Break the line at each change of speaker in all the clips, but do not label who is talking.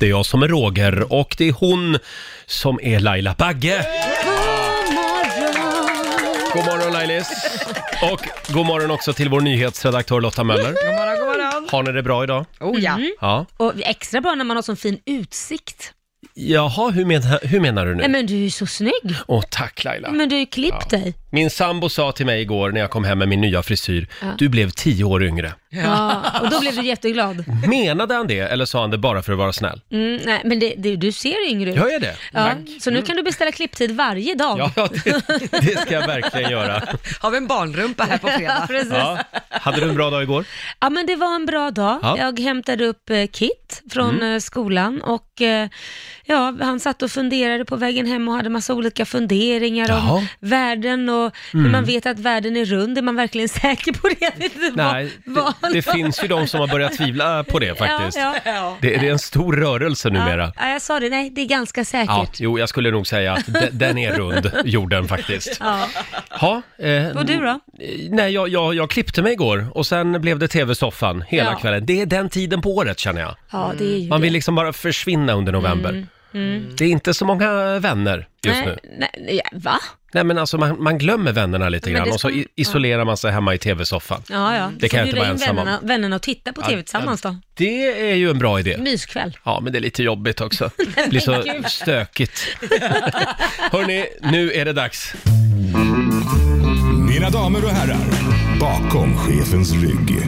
Det är jag som är Roger och det är hon som är Laila Bagge. God morgon Lailis! Och god morgon också till vår nyhetsredaktör Lotta Möller.
God morgon, god morgon.
Har ni det bra idag?
Oh ja.
Ja.
Och extra bra när man har sån fin utsikt.
Jaha, hur menar, hur menar du
Nej
nu?
men du är ju så snygg.
Åh, tack Laila!
Men du har ju klippt dig.
Min sambo sa till mig igår när jag kom hem med min nya frisyr, du blev tio år yngre.
Ja. Och då blev du jätteglad.
Menade han det eller sa han det bara för att vara snäll?
Mm, nej, men det, det, du ser yngre ut.
Gör jag det?
Ja, så nu kan du beställa klipptid varje dag.
Ja, ja det, det ska jag verkligen göra.
Har vi en barnrumpa här på fredag?
Precis. Ja.
Ja. Hade du en bra dag igår?
men det var en bra dag.
Ja. Mm.
Jag hämtade upp eh, Kit från eh, skolan och eh, ja, han satt och funderade på vägen hem och hade massa olika funderingar om
Jaha. Mm.
världen och hur man vet att världen är rund. Är man verkligen säker på det? Jag vet inte vad-
Nej,
vad
det,
han
det
sa.
finns ju de som har börjat tvivla på det faktiskt.
Ja, ja.
Det, det är en stor rörelse numera.
Ja, jag sa det, nej det är ganska
Ja,
säkert.
jo, jag skulle nog säga att de- den är rund, jorden faktiskt.
Ja.
Ha, eh,
Och du då?
eh, Nej, jag, jag, jag klippte mig igår och sen blev det tv-soffan hela
Ja.
kvällen. Det är den tiden på året känner jag.
Ja, det är ju
Man
det.
vill liksom bara försvinna under november. Det är inte så många vänner just
nej,
nu.
Nej, nej, ja, va?
Nej, men alltså man, man glömmer vännerna lite
Men det
grann och så
ska-
i- isolerar man sig hemma i tv-soffan.
Ja, ja.
Det kan jag inte vara ensam om.
vännerna, vännerna och titta på TV tillsammans då.
Det är ju en bra idé.
Myskväll.
Ja, men det är lite jobbigt också. Det blir så
gud.
stökigt. Hörni, nu är det dags.
Mina damer och herrar, bakom chefens rygg.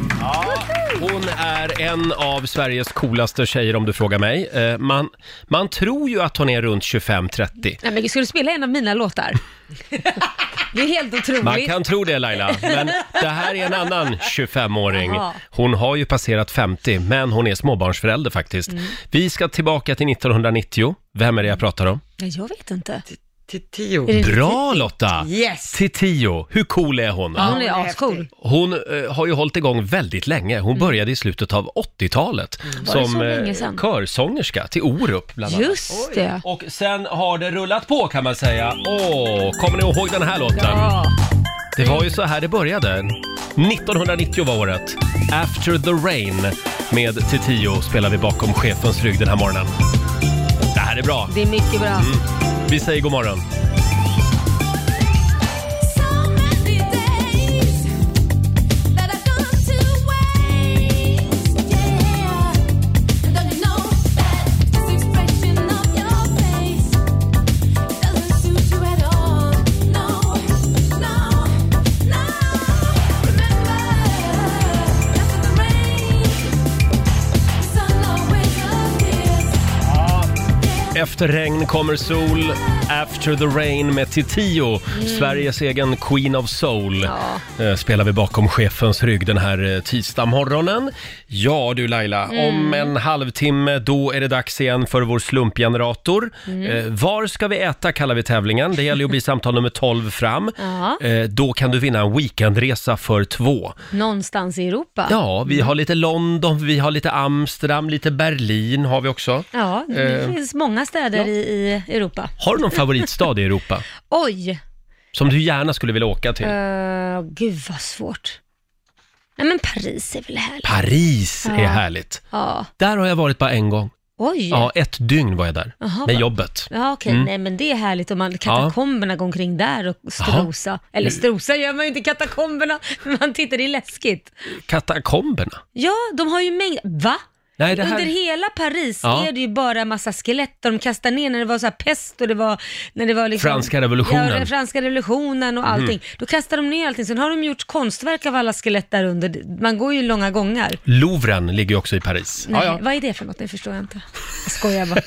Hon är en av Sveriges coolaste tjejer om du frågar mig. Eh, Man, man tror ju att hon är runt 25-30.
Nej men gud, ska du spela en av mina låtar? det är helt otroligt.
Man kan tro det Laila, men det här är en annan 25-åring.
Jaha.
Hon har ju passerat 50, men hon är småbarnsförälder faktiskt.
Mm.
Vi ska tillbaka till 1990. Vem är det jag pratar om?
Nej, jag vet inte.
Till tio.
Är det-
Bra Lotta!
Yes!
Till 10. Hur cool är hon?
Ja, hon
Ja,
är
hon är
ascool.
häftig.
Hon eh, har ju hållit igång väldigt länge. Hon började i slutet av 80-talet
Mm. Var det
som
så
eh,
länge sedan?
körsångerska till Orup bland annat.
Just det.
Och sen har det rullat på kan man säga. Åh, kommer ni ihåg den här låten?
Ja.
Det var ju så här det började. 1990 var året. After the Rain med Titio spelar vi bakom chefens rygg den här morgonen. Det här är bra.
Det är mycket bra.
Mm. Vi säger god morgon. Efter regn kommer sol. After the Rain med Titio, Sveriges egen Queen of Soul. Eh, Spelar vi bakom chefens rygg den här eh, tisdagmorgonen. Ja du Laila, om en halvtimme då är det dags igen för vår slumpgenerator. Eh, Var ska vi äta kallar vi tävlingen. Det gäller ju att bli samtal nummer 12 fram.
Ja.
Eh, Då kan du vinna en weekendresa för två.
Någonstans i Europa.
Ja, vi har lite London, vi har lite Amsterdam, lite Berlin har vi också.
Ja, det
Eh.
finns många städer i, i Europa.
Har du någon favoritstad i Europa?
Oj,
Som du gärna skulle vilja åka till?
Eh, gud vad svårt. Nej men Paris är väl härligt?
Paris är
Ja.
härligt.
Ja.
Där har jag varit bara en gång.
Oj.
Ja, ett dygn var jag där.
Jaha,
med
va-
jobbet.
Ja, okej. Nej, men det är härligt om man katakomberna går omkring där och strosa. Eller
Mm.
strosa gör man ju inte i katakomberna, men man tittar, det är läskigt.
Katakomberna.
Ja, de har ju mängd... Va?
Nej, det här...
Under hela Paris
Ja.
är det ju bara massa skelett och de kastar ner när det var så här pest och det var... När det var liksom,
Franska revolutionen. Mhm.
Ja, den franska revolutionen och allting. Då kastar de ner allting. Sen har de gjort konstverk av alla skelett där under. Man går ju långa gångar.
Louvren ligger ju också i Paris.
Nej,
Ja,
vad är det för något? Det förstår jag inte. Jag skojar bara.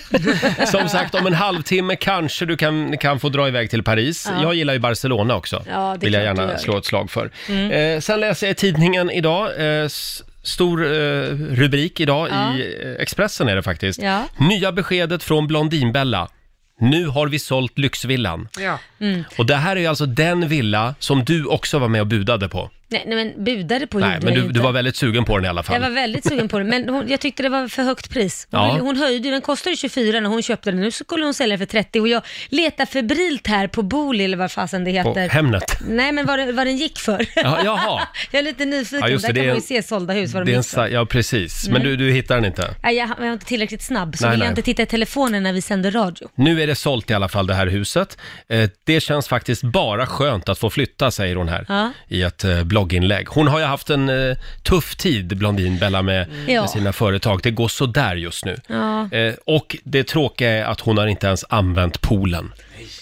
ja. Som sagt, om en halvtimme kanske du kan, kan få dra iväg till Paris. Jag gillar ju Barcelona också.
Ja, det
vill jag
är klart
gärna
du gör. Mm.
slå ett slag för. Eh, sen läser jag i tidningen idag. Eh, s- Stor eh, rubrik idag
Ja.
i eh, Expressen är det faktiskt.
Ja.
Nya beskedet från Blondinbella. Nu har vi sålt lyxvillan.
Ja.
Och det här är ju alltså den villa som du också var med och budade på.
Nej, nej men budade på
Nej, men
gjorde jag
du,
Mm, inte.
du var väldigt sugen på den i alla fall.
Jag var väldigt sugen på den, men hon, jag tyckte det var för högt pris. Hon,
Ja.
ville- hon höjde ju- den kostade 24 när hon köpte den, nu skulle hon sälja den för 30 och jag letar febrilt här på Booli eller vad fasen det
På
heter.
Hemnet.
Nej, men vad, det- vad den gick för.
Ja, jaha.
jag är lite nyfiken,
Ja, just det,
där
det
kan
är
man
en-
ju se sålda hus, vad
Det
de
är en,
gick för.
sa- ja, precis. Men
Mm.
du, du hittar den inte.
Nej, jag, jag var inte tillräckligt snabb, så
Nej,
vill
nej.
jag inte titta i telefonen när vi sänder radio.
Nu är det sålt i alla fall det här huset. Eh, det känns faktiskt bara skönt att få flytta, säger hon här
Ja.
i ett eh, blogginlägg. Hon har ju haft en eh, tuff tid, Blondin Bella, med,
Mm. Ja.
med sina företag. Det går så där just nu.
Ja.
Eh, och det tråkiga är att hon har inte ens använt poolen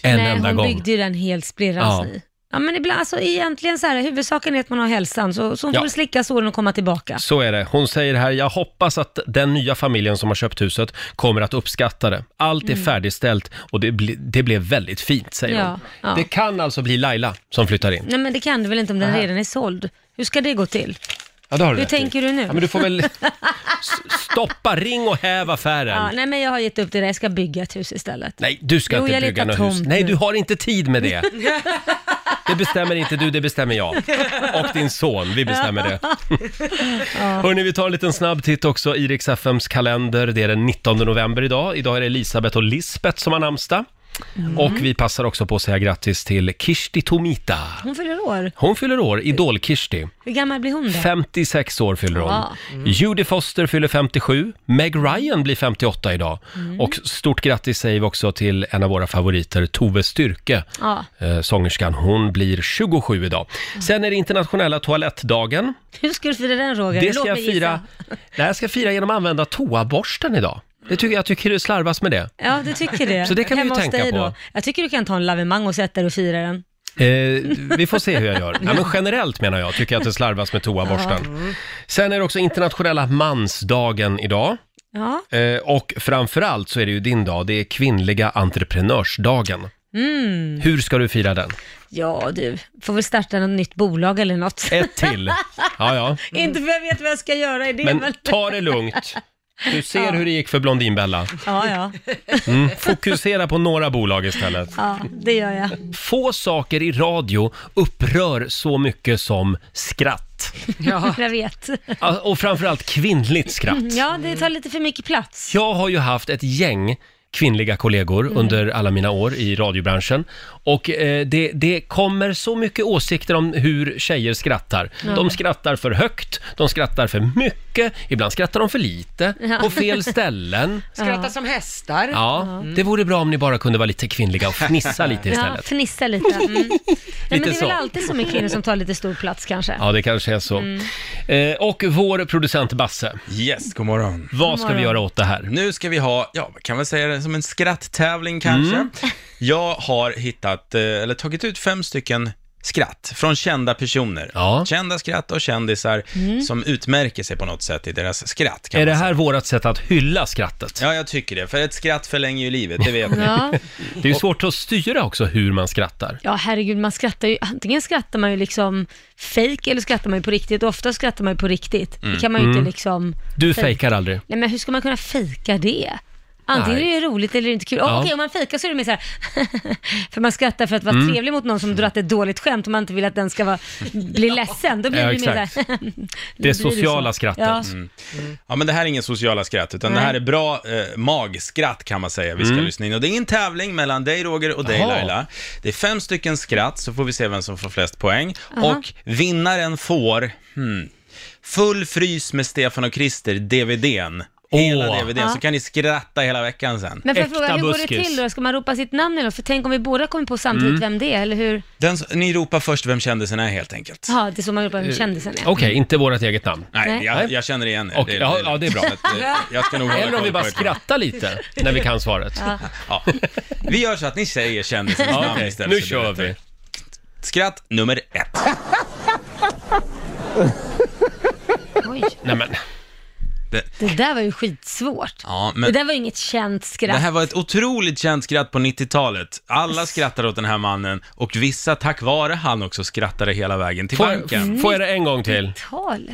en
Nej,
enda
hon
gång.
byggde ju den helt splirrans
Ja.
i. Ja, men ibland, alltså egentligen så här, huvudsaken är att man har hälsan, så, så hon
Ja.
får väl slicka såren och komma tillbaka.
Så är det. Hon säger här, jag hoppas att den nya familjen som har köpt huset kommer att uppskatta det. Allt är färdigställt och det, bli, det blev väldigt fint, säger
Mm. Ja,
hon.
ja.
Det kan alltså bli Laila som flyttar in.
Nej, men det kan du väl inte om den redan är såld? Hur ska det gå till?
Ja, det har du
Hur
rätt i.
tänker du nu?
Ja, men du får väl s- stoppa, ring och häv affären.
Ja, nej, men jag har gett upp det där. Jag ska bygga ett hus istället.
Nej, du ska
Jo,
inte
jag
bygga
letar
något hus.
tomt
Nej,
nu.
du har inte tid med det. Det bestämmer inte du, det bestämmer jag. Och din son, vi bestämmer det. Hörni, vi tar en liten snabb titt också i Rix FMs kalender. Det är den 19 november idag. Idag är det Elisabeth och Lisbeth som har namnsdag.
Mm.
Och vi passar också på att säga grattis till Kirsti Tomita.
Hon fyller år.
Hon fyller år, Idol-Kirsti.
Hur gammal blir hon då?
56 år fyller hon. Mm.
Ja.
Judy Foster fyller 57. Meg Ryan blir 58 idag.
Mm.
Och stort grattis säger vi också till en av våra favoriter, Tove Styrke,
Ja. Mm.
eh, sångerskan. Hon blir 27 idag. Sen är det internationella toalettdagen.
Hur ska du fira den Roger?
Det ska
Låt
jag
mig
fira,
gissa.
det här ska jag fira genom att använda toaborsten idag. Det tycker, jag tycker det slarvas med det.
Ja, du tycker det.
Så det kan vi
Hemma
ju
hos
tänka
dig
på.
Då. Jag tycker du kan ta en lavemang och sätta dig och fira den.
Eh, vi får se hur jag gör. Ja, men generellt menar jag, tycker jag att det slarvas med
Mm.
toaborsten. Sen är det också internationella mansdagen idag.
Ja,
Eh, och framförallt så är det ju din dag, det är kvinnliga entreprenörsdagen. Hur ska du fira den?
ja du. Får väl starta något nytt bolag eller något.
Ett till. Ja, ja.
Inte för jag vet vad jag ska göra i det, men...
Eh. Men ta det lugnt. Du ser
Ja.
hur det gick för Blondinbella.
Ja, ja.
Mm. Fokusera på några bolag istället.
Ja, det gör jag.
Få saker i radio upprör så mycket som skratt.
Ja.
Jag vet.
Ja, Och framförallt kvinnligt skratt.
Ja, det tar lite för mycket plats.
Jag har ju haft ett gäng kvinnliga kollegor
Mm.
under alla mina år i radiobranschen. Och eh, det, det kommer så mycket åsikter om hur tjejer skrattar. De skrattar för högt, de skrattar för mycket, ibland skrattar de för lite,
Ja.
på fel ställen.
Skratta som hästar.
Ja, det vore bra om ni bara kunde vara lite kvinnliga och fnissa lite
Ja,
istället.
fnissa lite. Mm. Nej, men
Lite
det är väl
så.
alltid så med kvinnor som tar lite stor plats kanske.
Ja, det kanske är så.
Mm.
Eh, och vår producent Basse,
Yes, god morgon.
vad ska vi
morgon.
göra åt det här?
Nu ska vi ha, ja, man kan väl säga det som en skratttävling kanske.
Mm.
Jag har hittat, eh, eller tagit ut fem stycken skratt från kända personer.
Ja. Mm.
Kända skratt och kändisar som utmärker sig på något sätt i deras skratt. Kan
Är det
man säga.
här vårt sätt att hylla skrattet?
Ja, jag tycker det. För ett skratt förlänger ju livet, det vet ni.
Ja.
Det är ju svårt att styra också hur man skrattar.
ja, herregud, man skrattar ju, antingen skrattar man ju liksom fake eller skrattar man ju på riktigt. Och ofta skrattar man ju på riktigt.
Mm.
Det kan man ju inte liksom...
Du fejkar aldrig.
Nej, men hur ska man kunna fejka det? Antingen
Nej.
är det roligt eller inte kul.
Ja.
Ja. Okej, om man fejkar så är det mer så här, för man skrattar för att vara
Mm.
trevlig mot någon som dratt ett dåligt skämt och man inte vill att den ska vara, bli ledsen. Då blir
Ja,
det mer
exakt.
så här, Då
Det
blir
sociala
så.
skrattet. Mm.
Ja.
Ja, men det här är ingen sociala skratt, utan det här är bra eh, magskratt kan man säga vi ska lyssna in. Och det är en tävling mellan dig Roger och dig
Mm. Jaha.
Laila. Det är fem stycken skratt, så får vi se vem som får flest poäng. Och vinnaren får, hmm, Full frys med Stefan och Christer, DVDn. Hela
Åh.
DVDn, så kan ni skratta hela veckan sen.
Men får jag
Äkta
fråga, hur går det
buskis. Mm.
till då? Ska man ropa sitt namn eller något? För tänk om vi båda kommer på samtidigt vem det är, eller hur?
Den, s- ni ropar först vem kändisen är helt enkelt.
Ja, det är så man ropar vem
Eh.
kändisen är.
Okej,
Mm.
inte vårt eget namn.
Nej,
Nej.
jag, jag känner igen er.
Och- ja, ja, det är bra.
Så att, eh, jag ska nog hålla
Eller om vi
koll
bara
på er.
skrattar lite när vi kan svaret.
Ja. Vi gör så att ni säger kändisens
Ja,
namn
okej.
istället.
Nu
så
kör
blir
vi.
det rätt. Skratt nummer ett.
Oj,
Nej, men,
det där var ju skitsvårt.
Ja,
Det
men
där var ju inget känt skratt.
det här var ett otroligt känt skratt på 90-talet. Alla skrattade åt den här mannen och vissa tack vare han också skrattade hela vägen till banken.
Mm.
får, får jag det en gång till?
Tal.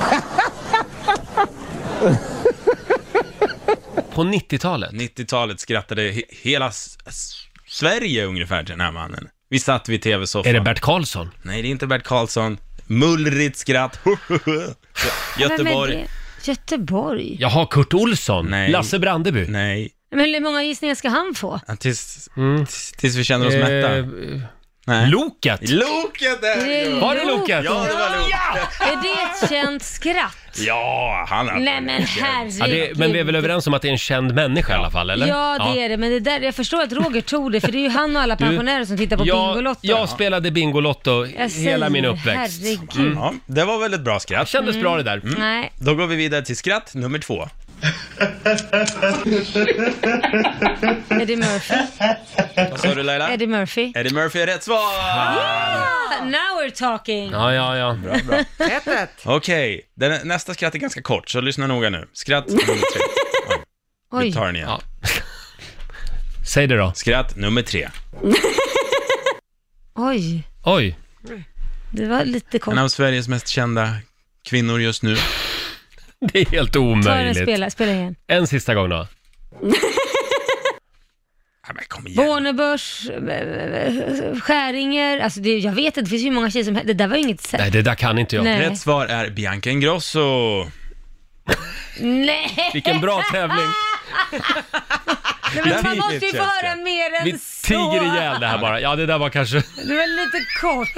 På 90-talet?
90-talet skrattade he- hela s- s- Sverige ungefär till den här mannen. Vi satt vid
Är det
tv-soffan.
Bert Karlsson?
Nej, det är inte Bert Karlsson. Mullrigt skratt.
Vem är
Göteborg.
det? Göteborg?
Jaha, Kurt Olsson?
Nej.
Lasse Brandeby?
Nej,
Men hur många gissningar ska han få?
ja, tills,
Mm.
tills, tills vi känner oss mätta. Nej.
Eh, Loket!
Loket är det ju!
Var det Loket?
Ja, det var Loket.
Är det ett känt skratt?
Ja, han har...
Nej men herregud.
Ja, det, men vi är väl överens om att det är en känd människa i alla fall, eller?
Ja, det är det. Men det där, jag förstår att Roger tog det, för det är ju han och alla pensionärer som tittar på
jag,
Bingolotto.
jag spelade Bingolotto
Jag
hela min uppväxt.
Herregud.
Mm,
Mm.
Ja, det var väl ett bra skratt.
Kändes bra det där.
Nej.
Då går vi vidare till skratt nummer två.
Eddie Murphy.
Vad sa du Laila?
Eddie Murphy.
Eddie Murphy är rätt svar!
Ah, now we're talking.
Ja, ja, ja.
Ett, ett.
Okej, den- nästa skratt är ganska kort, så lyssna noga nu. Skratt nummer tre. Vi
Oj.
tar den igen.
Ja. Säg det då.
Skratt nummer tre.
Oj.
Oj.
Det var lite kort.
En av Sveriges mest kända kvinnor just nu.
Det är helt
Ta den och
omöjligt.
spela, spela igen.
En sista gång då.
Ja, men kom igen.
Bornebusch, eh, eh, Skäringer, alltså det, jag vet inte, det finns ju hur många tjejer som Det där var ju inget sätt.
Nej, det där kan inte jag.
Nej.
Rätt svar är Bianca Ingrosso.
Nej,
Vilken bra tävling.
men man
tidigt
måste ju få
känns det.
höra mer än
Vi
så.
tiger ihjäl det här bara. Ja, det där var kanske...
Det var lite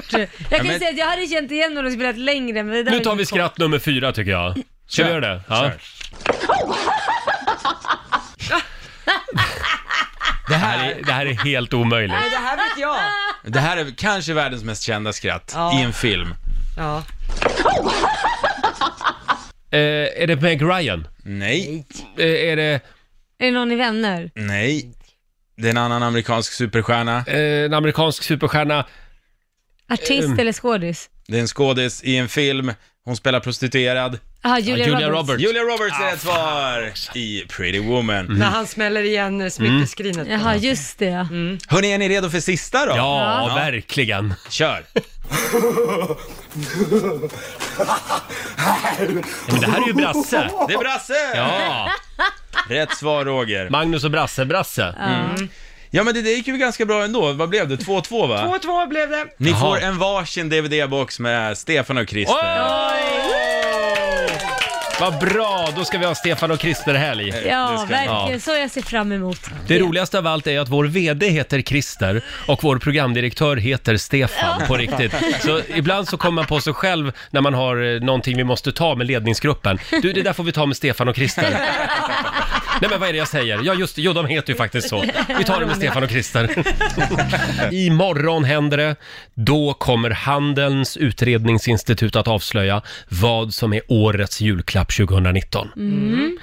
kort. Jag kan ju
men-
säga att jag hade känt igen när de spelat längre, men det där
Nu
var
tar
ju
vi
kort.
skratt nummer fyra tycker jag. Ska vi
Kör.
göra det? Ja.
Kör.
Det här, är, det här är helt
Nej,
omöjligt.
det här vet jag.
Det här är kanske världens mest kända skratt
Ja.
i en film.
Ja.
Eh, är det Meg Ryan?
Nej,
Eh, är det
Är det någon i Vänner?
nej. Det är en annan amerikansk superstjärna.
eh, en amerikansk superstjärna?
Artist
Mm.
eller skådis?
Det är en skådis i en film. Hon spelar prostituerad.
Aha, Julia,
Julia
Roberts.
Roberts.
Julia Roberts är rätt
Ah,
svar i Pretty Woman.
När han smäller igen eh, smyckeskrinet.
Jaha, just det ja.
Mm,
Hörni, är ni redo för sista då?
Ja,
Ja.
verkligen.
Kör!
Ja, Men det här är ju Brasse.
Det är Brasse!
Ja,
Rätt svar Roger.
Magnus och Brasse-Brasse.
Ja men det, det gick ju ganska bra ändå. Vad blev det? 2-2 va?
2-2 blev det.
Ni
Jaha.
får en varsin DVD-box med Stefan och
Oj!
Christer.
Vad bra, då ska vi ha Stefan och Christer helg.
Det
Ja,
ska-
verkligen. Så jag ser fram emot.
Det roligaste av allt är att vår VD heter Christer och vår programdirektör heter Stefan på riktigt. Så ibland så kommer man på sig själv när man har eh, någonting vi måste ta med ledningsgruppen. Du, det där får vi ta med Stefan och Christer. Nej men vad är det jag säger? Ja just det, jo de heter ju faktiskt så. Vi tar det med Stefan och Christer. Imorgon händer det. Då kommer Handelns utredningsinstitut att avslöja vad som är årets julklapp 2019.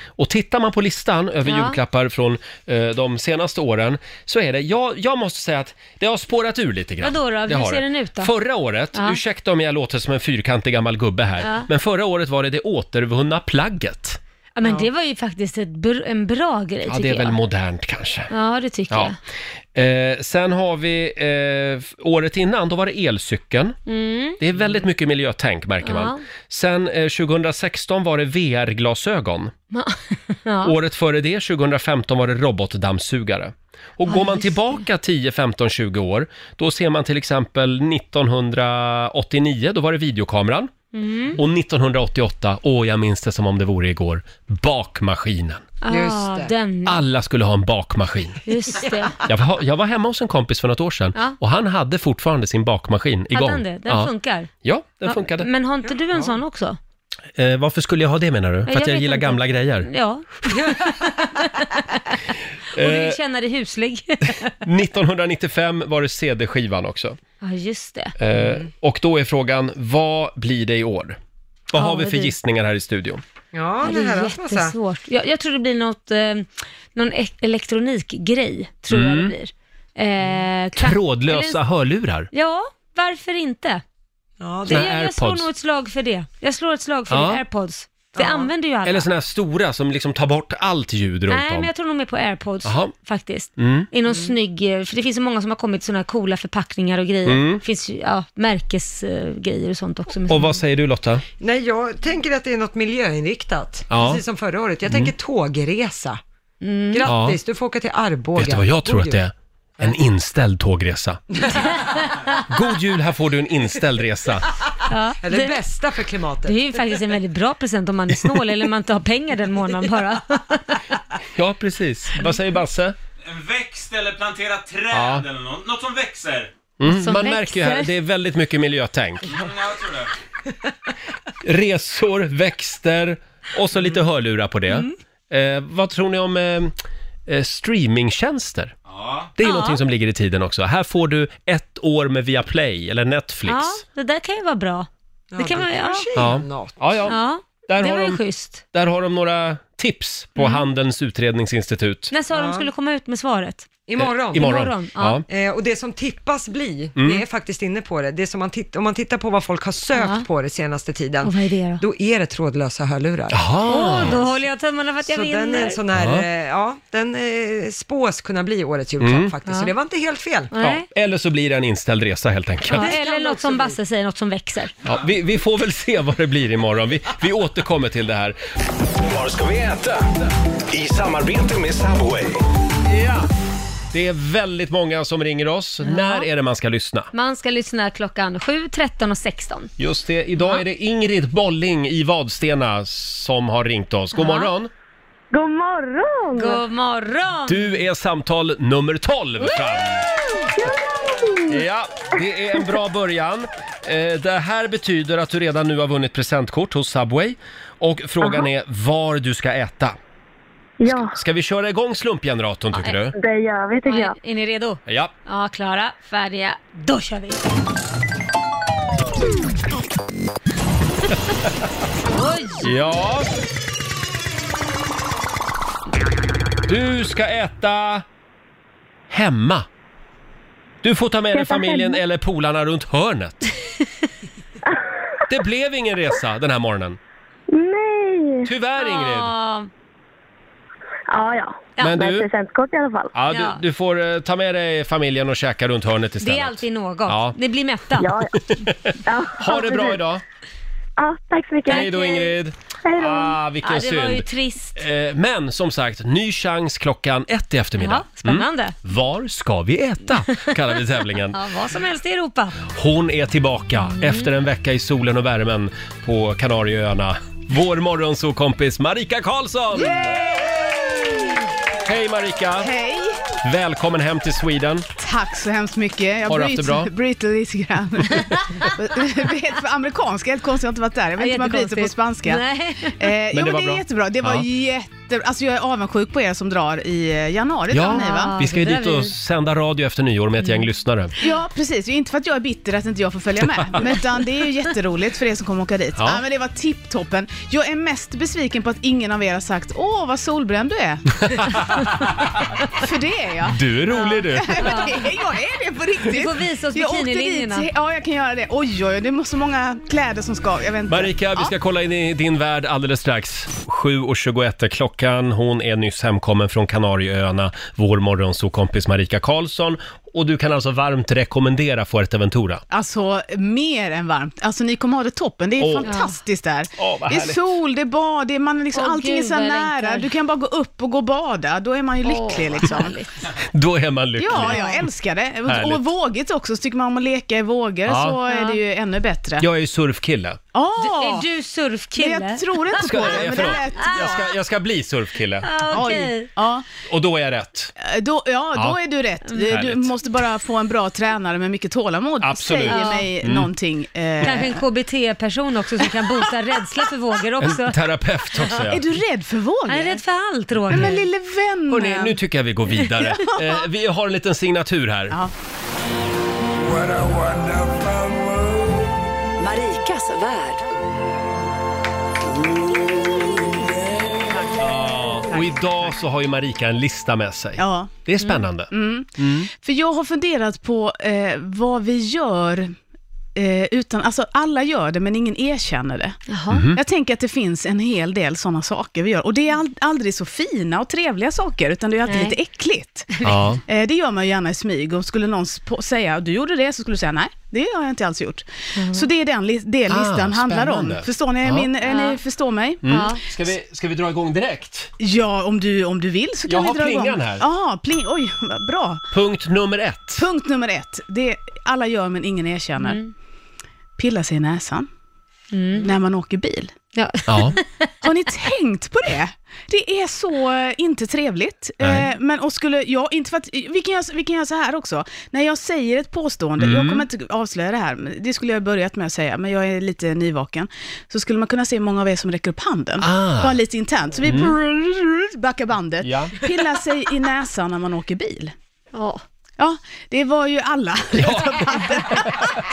Och tittar man på listan över
Mm. Ja.
julklappar från eh, de senaste åren så är det, jag, jag måste säga att det har spårat ur lite grann.
Vadå då? Hur
har
ser den ut då?
Förra året,
Ja.
ursäkta om jag låter som en fyrkantig gammal gubbe här,
Ja.
men förra året var det det återvunna plagget.
Ja, men det var ju faktiskt ett br- en bra grej
Ja,
tycker
det är väl
jag.
modernt kanske.
Ja, det tycker jag.
Ja. Eh, sen har vi eh, f- året innan, då var det elcykeln. Det är väldigt mycket miljötänk märker
Mm. Ja.
man. Sen eh, 2016 var det VR-glasögon.
Ja.
Året före det, 2015, var det robotdammsugare. Och går man
just
tillbaka 10, 15, 20 år, då ser man till exempel 1989, då var det videokameran.
Mm.
Och 1988, åh jag minns det som om det vore igår, bakmaskinen.
Ah,
Just det.
den.
Alla skulle ha en bakmaskin.
Just det.
Jag var, jag var hemma hos en kompis för något år sedan
Ja.
och han hade fortfarande sin bakmaskin igång.
Hade han det? Den
ja.
funkar.
Ja, den
Ja, Mm.
funkade.
Men har inte du en sån också?
Eh, varför skulle jag ha det menar du? För
jag
att jag
vet
gillar
inte.
gamla grejer.
Ja. Och du
Eh.
vill känna dig huslig.
1995 var det CD-skivan också.
Ja, just det.
Eh,
Mm.
Och då är frågan, vad blir det i år? Vad
Ja,
har vi
vad
för
det-
gissningar här i studion?
Ja,
Ja,
det
det
här
är
har varit massa.
jättesvårt. Jag, jag tror det blir något, eh, någon ek- elektronikgrej, tror
Mm.
jag det blir. Eh, kan-
Trådlösa
eller-
hörlurar.
Ja, varför inte?
Ja,
Det,
Såna
det,
här
jag, jag slår
airpods.
nog ett slag för det. Jag slår ett slag för
Ja.
det, airpods. Det använder ju alla.
Eller såna här stora som liksom tar bort allt ljud runt
Nej, men
om.
jag tror nog mer på airpods
Jaha.
faktiskt.
Mm.
I någon snygg, eh, för det finns så många som har kommit sådana här coola förpackningar och grejer.
Mm.
Det finns ju ja, märkesgrejer och sånt också. med
Och
såna-
vad säger du Lotta?
Mm.
nej, jag tänker att det är något miljöinriktat.
Ja.
Precis som förra året. Jag tänker tågresa. Grattis, du får åka till Arboga. Oh,
Vet du vad jag tror
God
att det
jul.
är? En inställd tågresa. God jul, här får du en inställd resa.
Ja,
Eller det
det-
bästa för
Det
klimatet.
är ju faktiskt en väldigt bra present om man är snål eller om man inte har pengar den månaden bara.
Ja, precis. Vad säger Basse?
En växt eller plantera träd
Ja.
eller något, något som växer.
Mm,
Som
man
växer.
märker ju här, det är väldigt mycket miljötänk.
Mm, jag tror det.
Resor, växter och så
Mm.
lite hörlurar på det. Eh, vad tror ni om eh, eh, streamingtjänster?
Ja.
Det är
Ja.
någonting som ligger i tiden också. Här får du ett år med Viaplay eller Netflix.
Ja, det där kan ju vara bra. Det kan man
det
ja.
kanske är
Ja.
något.
Ja, ja.
ja
Där,
det
har
var ju
de,
schysst.
där har de några tips på
Mm.
Handelns utredningsinstitut. Eh,
När sa de
Ja.
skulle komma ut med svaret?
Imorgon.
Imorgon.
Imorgon, ja.
Eh, och det som tippas bli,
Mm.
vi är faktiskt inne på det, det som man titt- om man tittar på vad folk har sökt
Ja. Oh
på det senaste tiden,
Och vad är det då?
då är det trådlösa hörlurar.
Jaha.
Åh, då håller jag tummarna för att jag
Så
vinner.
den är en sån här,
Ja.
ja, ja den eh, spås kunna bli årets julklapp
Mm.
faktiskt, så
Ja.
det var inte helt fel.
Ja,
Nej.
eller så blir det en inställd resa helt enkelt.
Ja,
Det kan
eller något
också
som
bli.
Basse säger, något som växer.
Ja, vi, vi får väl se vad det blir imorgon. Vi, vi återkommer till det här.
Var ska vi äta? I samarbete med Subway.
Det är väldigt många som ringer oss. När är det man ska lyssna?
Man ska lyssna klockan 7, 13 och 16.
Just det, idag är det Ingrid Bolling i Vadstena som har ringt oss. God
Ja.
morgon!
God morgon!
God morgon!
Du är samtal nummer 12 fram. Ja, det är en bra början. Eh, Det här betyder att du redan nu har vunnit presentkort hos Subway. Och frågan är var du ska äta.
Ja,
Ska vi köra igång slumpgeneratorn tycker du?
det gör vi tycker
Ja,
jag.
är ni redo?
Ja.
Ja, klara, färdiga, då kör vi! Oj!
Ja. Du ska äta hemma. Du får ta med dig
Äta
familjen
hemma?
eller polarna runt hörnet. Det blev ingen resa den här morgonen.
Nej!
Tyvärr Ingrid.
Ja,
Ja, ja.
Ja,
Men
Men
du,
presentkort i alla fall.
ja,
Ja.
du, du får eh, ta med dig familjen och käka runt hörnet
det är
istället.
alltid något.
Ja.
Ni blir mätta.
Ja, ja. ja.
Ha det bra
precis.
idag.
Ja, tack så mycket.
Hej då Ingrid.
Hej då.
Ah,
Ja,
vilken
det var ju
synd.
trist.
Eh, Men som sagt, ny chans klockan ett i
Ja,
eftermiddag. Mm.
spännande.
Var ska vi äta? Kallar vi tävlingen.
Ja, vad som helst i Europa.
Hon är tillbaka
Mm.
efter en vecka i solen och värmen på Kanarieöarna. Vår morgonsokompis Marika Karlsson! Hej Marika!
Hej!
Välkommen hem till Sweden.
Tack så hemskt mycket. Jag
Har du haft det bra?
bryter, bryter lite grann. Jag vet, för amerikanska, helt konstigt, jag har inte varit där. Jag vet inte hur man bryter på
Jättekonstigt.
spanska.
Nej.
Eh, jo,
det
men
var
det
bra.
är jättebra. Det var
Ja.
jättebra. Alltså jag är avundsjuk på er som drar i eh, januari tror ni va?
Ja, vi ska ju
det där
dit
vi- Mm.
och sända radio efter nyår med ett gäng lyssnare.
Ja, precis. Det är Inte för att jag är bitter att inte jag får följa med, men utan det är ju jätteroligt för er som kommer åka dit.
Ja.
Ja. men det var tipptoppen. Jag är mest besviken på att ingen av er har sagt “Åh, vad solbränd du är”. för det är jag.
Du är rolig du!
Nej, men det är- Jag är det på riktigt.
Du får visa oss
Jag åkte
bikinilinjerna.
dit- Ja, jag kan göra det. Oj, oj, det är så många kläder som ska. Jag vet inte.
Marika, vi ska kolla in i din värld alldeles strax. 7.21 är klockan. Hon är nyss hemkommen från Kanarieöarna, vår morgonsokompis Marika Karlsson. Och du kan alltså varmt rekommendera Fuerteventura.
Alltså, mer än varmt. Alltså, ni kommer ha det toppen. Det är
Åh.
fantastiskt där.
Åh, vad
det är
härligt.
sol, det är bad, det är, man är liksom,
Åh,
allting
gud,
är så
vad
här
jag
nära.
längtar.
Du kan bara gå upp och gå och bada. Då är man ju
Åh,
lycklig
vad
liksom.
härligt.
Då är man lycklig.
Ja, jag älskar det.
Härligt.
Och vågigt också. Så tycker man om att leka i vågor
Ja.
så är det ju ännu bättre.
Jag är ju surfkille.
Ja.
Är du
Men
surfkille?
jag tror inte på det, men det
förlåt.
lät...
jag, ska, jag ska bli surfkille.
ah,
Oj.
okej.
Ja.
Och då är jag rätt.
Eh, Då, ja,
Ja. Mm.
då är du rätt. Du, du
Härligt.
måste bara få en bra tränare med mycket tålamod.
Absolut.
Säger
Ja. Mm.
mig någonting. Eh,
Kanske en KBT-person också som kan bota rädsla för vågor också.
En terapeut också. Ja.
är du rädd för vågor?
Han är rädd för allt, Roger.
Men lille vännen.
Hörrni, nu tycker jag vi går vidare. Eh, vi har en liten signatur här.
Ja.
Marikas värld.
Och idag så har ju Marika en lista med sig.
ja. Mm.
Det är spännande.
För jag har funderat på eh, vad vi gör eh, utan, alltså alla gör det men ingen erkänner det.
Jaha.
Mhm.
Jag tänker att det finns en hel del sådana saker vi gör. Och det är all, aldrig så fina och trevliga saker, utan det är alltid
Nej.
lite äckligt.
Ja.
Eh, det gör man ju gärna i smyg och skulle någon sp- säga du gjorde det så skulle du säga nej, det har jag inte alls gjort. Så det är den li- det
Mhm. Ah,
listan handlar om.
spännande.
Förstår ni,
Ja. Mm.
min, eh,
Ja.
ni förstår mig?
Ja.
Ska, vi, ska vi dra igång direkt?
Ja, om du, om du vill så
Jag
kan
har
vi dra igång.
plingan här.
Ja, pling, oj, vad bra.
Punkt nummer ett. Mm.
Punkt nummer ett, det alla gör men ingen erkänner. pilla sig i näsan när man åker bil.
Ja.
Ja.
Har ni tänkt på det? Det är så eh, inte trevligt.
Nej.
Eh, men och skulle jag, inte för att, vi, kan göra, vi kan göra så här också. När jag säger ett påstående,
Mm.
jag kommer inte avslöja det här, men det skulle jag ha börjat med att säga, men jag är lite nyvaken. Så skulle man kunna se hur många av er som räcker upp handen,
Ah. Mm.
bara lite internt. Så vi prrrr, backar bandet.
Ja.
Pilla sig i näsan när man åker bil.
Ja.
Ja, det var ju alla.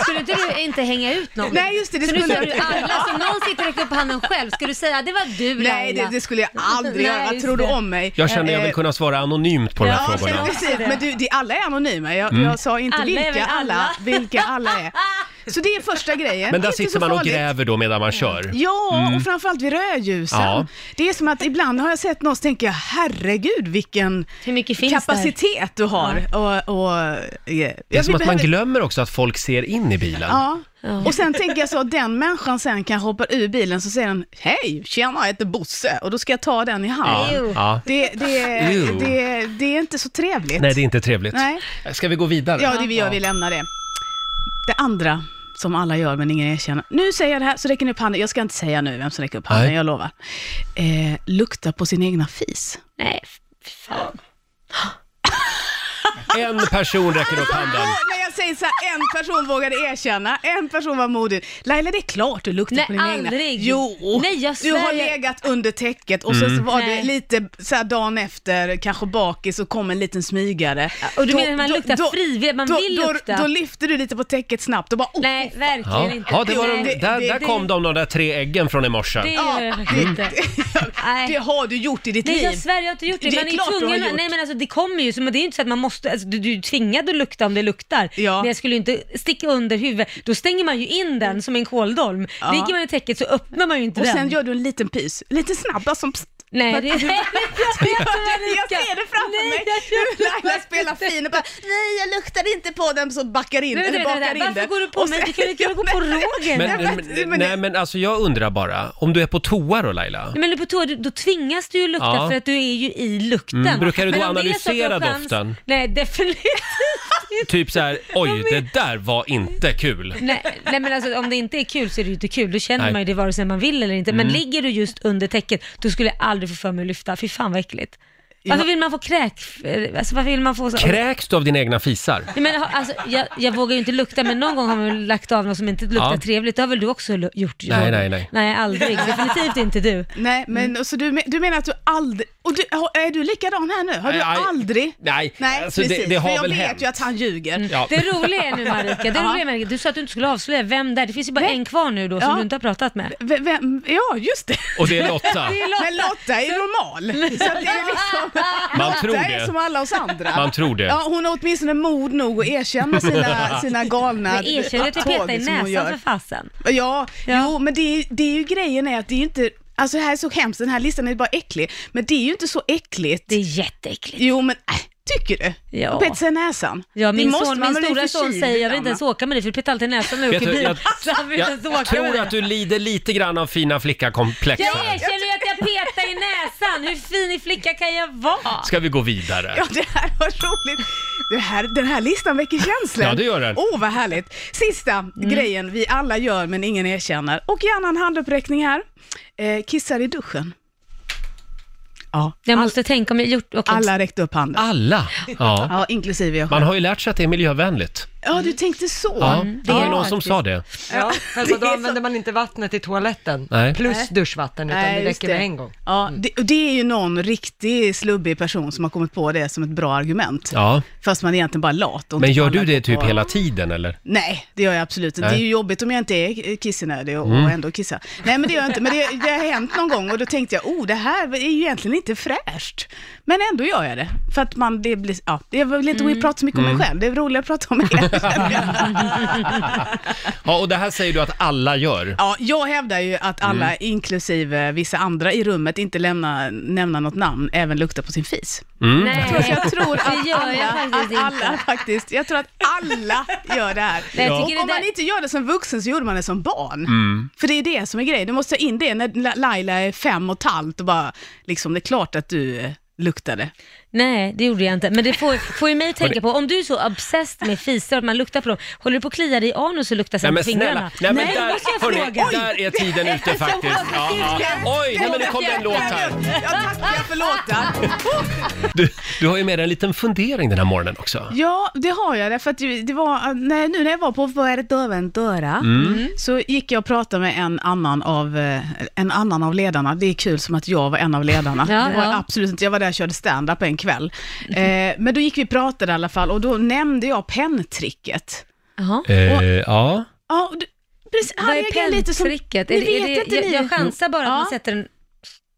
Skulle inte du inte hänga ut någon?
Nej, just det, det
så nu
skulle
sa
jag
du
inte.
alla, så om någon sitter och räcker upp handen själv, ska du säga det var du
Nej, det,
Laila?
det skulle jag aldrig göra.
Nej,
Vad
just
tror du
det.
om mig?
Jag känner jag vill
Eh,
kunna svara anonymt på de här
Ja,
frågorna. Mm.
precis. Men du, det, alla är anonyma. Jag, jag sa inte
Alla är väl
vilka alla,
alla.
vilka alla är. Så det är första grejen.
Men där
Inte så
sitter man och
farligt.
gräver då medan man kör.
Ja, och framförallt vid rödljusen.
Ja.
Det är som att ibland har jag sett någon så tänker jag, herregud vilken
Hur mycket finns
kapacitet du har. Och, eh, och, ja.
Det är som att man glömmer också att folk ser in i bilen.
Ja. Och sen tänker jag så att den människan sen kan hoppa ur bilen så säger den Hej, tjena jag heter Bosse och då ska jag ta den i hand.
Ew.
Ja.
Det, det,
Ew.
det, det är inte så trevligt.
Nej, det är inte trevligt.
Nej.
Ska vi gå vidare?
Ja, det vi gör, vi lämnar det. Det andra som alla gör men ingen erkänner. Nu säger jag det här, så räcker ni upp handen. Jag ska inte säga nu vem som räcker upp handen,
Nej.
jag lovar. Eh, lukta på sin egna fis.
där? Nej, fy fan.
En person räcker upp handen.
Ja, när jag säger så här, en person vågade erkänna, en person var modig. Laila, det är klart du luktar
Nej,
på din egna.
aldrig.
Jo,
Nej, jag
du har
svär.
legat under täcket och sen så var det
Nej.
lite så här dagen efter, kanske bakis och kom en liten smygare.
och du menar man luktar frivilligt, man
då,
vill
då,
lukta.
Då lyfter du lite på täcket snabbt och bara oh,
Nej, verkligen
Ja,
inte.
ja det var de,
Nej,
där,
det-
där
det-
kom de, Mm. de där tre äggen från i morse.
Det
Ja, Mm.
gör jag faktiskt inte.
Det
Nej.
har du gjort i ditt
Nej jag
liv.
svär, jag har inte gjort det.
Det är
man är ju
klart du har
tvungen.
gjort.
Nej men alltså det kommer ju, så, men det är ju inte så att man måste, alltså, du, du är tvingad att lukta om det luktar.
Ja.
Men jag skulle ju inte sticka under huvudet. Då stänger man ju in den som en kåldolm. Ligger man i täcket så öppnar man ju inte
Och
den.
sen gör du en liten pys, lite snabbare som pst.
Nej, det är
Jag ser det framför mig. Hur Laila spelar fin och bara, nej jag luktar inte på den, så backar in,
Nej,
eller
vänta, vänta,
bakar in
varför
den.
går du på
Och
mig?
sen-
Du kan ju inte gå på Roger.
Nej,
Men,
men-
men,
men-
nej men alltså jag undrar bara, om du är på toa då Laila?
Nej, Men på toa, du- då tvingas du ju lukta
Ja.
för att du är ju i lukten.
Mm, brukar du då
Men om det är så att du har
analysera
chans-
doften?
Nej, definitivt inte.
Typ så här, oj det där var inte kul.
Nej, nej men alltså om det inte är kul så är det ju inte kul. Då känner
Nej. Mm.
man ju det vare sig man vill eller inte. Men ligger du just under täcket, då skulle jag aldrig få för mig att lyfta. Fy fan vad äckligt. Varför vill man få kräk? Alltså varför vill man få så?
Kräks du av dina egna fisar?
Nej, men, alltså, jag, jag vågar ju inte lukta, men någon gång har man väl lagt av något som inte luktar
Ja.
trevligt. Det har väl du också lu- gjort?
Nej,
Roger?
nej, nej.
Nej, aldrig. Definitivt inte du.
Nej, men och så du, men- du menar att du aldrig... Och du, har- är du likadan här nu? Har du
Nej,
aldrig...
nej,
nej
alltså, det-
precis.
det har
För jag
väl
vet
hänt.
ju att han ljuger.
Ja.
Det roliga är nu Marika, det
Ja.
roliga är, Marika, du sa att du inte skulle avslöja vem det är. Det finns ju bara
Nej.
en kvar nu då som
Ja.
du inte har pratat med.
V- vem, ja, just det.
Och det är Lotta.
Men Lotta är normal. Så att det är liksom,
Man
Lotta
tror
är som
det.
alla oss andra.
Man tror det.
Ja, hon har åtminstone mod nog att erkänna sina, sina galna
Jag erkänner att du
tåg
petar i
som hon gör.
näsan för fasen.
Ja,
Ja.
jo, men det, är- det är ju grejen är att det är ju inte, alltså det här är så hemskt, den här listan är bara äcklig, men det är ju inte så äckligt.
Det är jätteäckligt.
Jo, men äh, tycker du?
Ja.
Och peta sig i näsan.
Ja,
Det
min
måste
son,
man
min
väl
stora
i
son
förkylningarna.
säger jag vill inte ens åka med dig för du petar alltid näsan när du
Vet
åker
du,
bil.
jag-
Så han vill inte ens
Jag
åka med
tror att
dig.
du lider lite grann av fina
Jag
flicka-komplexen.
erkänner ju att jag petar i näsan. Hur fin i flicka kan jag vara?
Ska vi gå vidare?
Ja, det här var roligt. Det här, den här listan väcker känslor.
Ja, det gör den. Mm.
Åh, oh, vad härligt. Sista grejen vi alla gör men ingen erkänner. Och gärna en handuppräckning här. Eh, kissar i duschen. Ja,
Jag måste tänka om jag gjort... okej.
alla räckte upp handen.
Alla! Ja.
Ja, inklusive jag
Man
själv.
har ju lärt sig att det är miljövänligt.
Ja, du tänkte så.
Ja.
Mm.
Det var
är
ju någon som
faktiskt.
sa det.
Ja, fast då använder man inte vattnet i toaletten
Nej.
plus duschvatten, utan det
Nej, just
räcker med en gång.
Ja,
Mm.
det, och det är ju någon riktig slubbig person som har kommit på det som ett bra argument.
Ja.
Fast man är egentligen bara lat. och
Men
inte
gör
pallar
du det
gå
typ
på-
hela tiden eller?
Nej, Mm. det gör jag absolut inte. Det är ju jobbigt om jag inte är kissnödig och, och ändå kissar. Nej, men det gör jag inte. Men det, det har hänt någon gång och då tänkte jag, oh, det här är ju egentligen inte fräscht. Men ändå gör jag det. För att man, det blir, ja, jag vill inte mm. prata så mycket om mig själv. Det är roligare att prata om er.
Ja, och det här säger du att alla gör.
Ja, jag hävdar ju att alla, inklusive vissa andra i rummet, inte lämna, nämna något namn, även lukta på sin fis.
Mm. Nej,
Jag tror, jag tror
det
att
gör jag faktiskt
alla, att alla
inte.
faktiskt, jag tror att alla gör det här.
Nej, jag
Och
tycker det
om man
där-
inte gör det som vuxen så gjorde man det som barn.
Mm.
För det är det som är grejen, du måste ta in det när La- Laila är fem och ett halvt och bara, liksom det är klart att du eh, luktade.
Nej, det gjorde jag inte. Men det får, får ju mig tänka på, om du är så obsessed med fisar att man luktar på dem, håller du på att klia dig i anus och luktar
Nej
sen på
men snälla,
fingrarna?
nej men
Nej, då
där,
måste jag
hörni,
fråga.
där är tiden ute faktiskt. Ja, ja. Oj, nej men nu kom det en låt här.
Jag tackar för låten.
Du, du har ju med dig en liten fundering den här morgonen också.
Ja, det har jag. Därför att ju- det var, när, nu när jag var på Fuerteventura så gick jag och pratade med en annan, av, eh, en annan av ledarna. Det är kul som att jag var en av ledarna.
Ja,
det var
ja.
absolut inte. Jag var där och körde stand-up en kväll. Eh, men då gick vi och pratade i alla fall och då nämnde jag penntricket.
Jaha.
Eh, ja.
Ja, och du, precis, han
Vad är
reagerade lite som...
penntricket?
Ni
Är det- är
vet
det-
inte
jag-
ni.
Jag chansar bara att
Ja.
man sätter den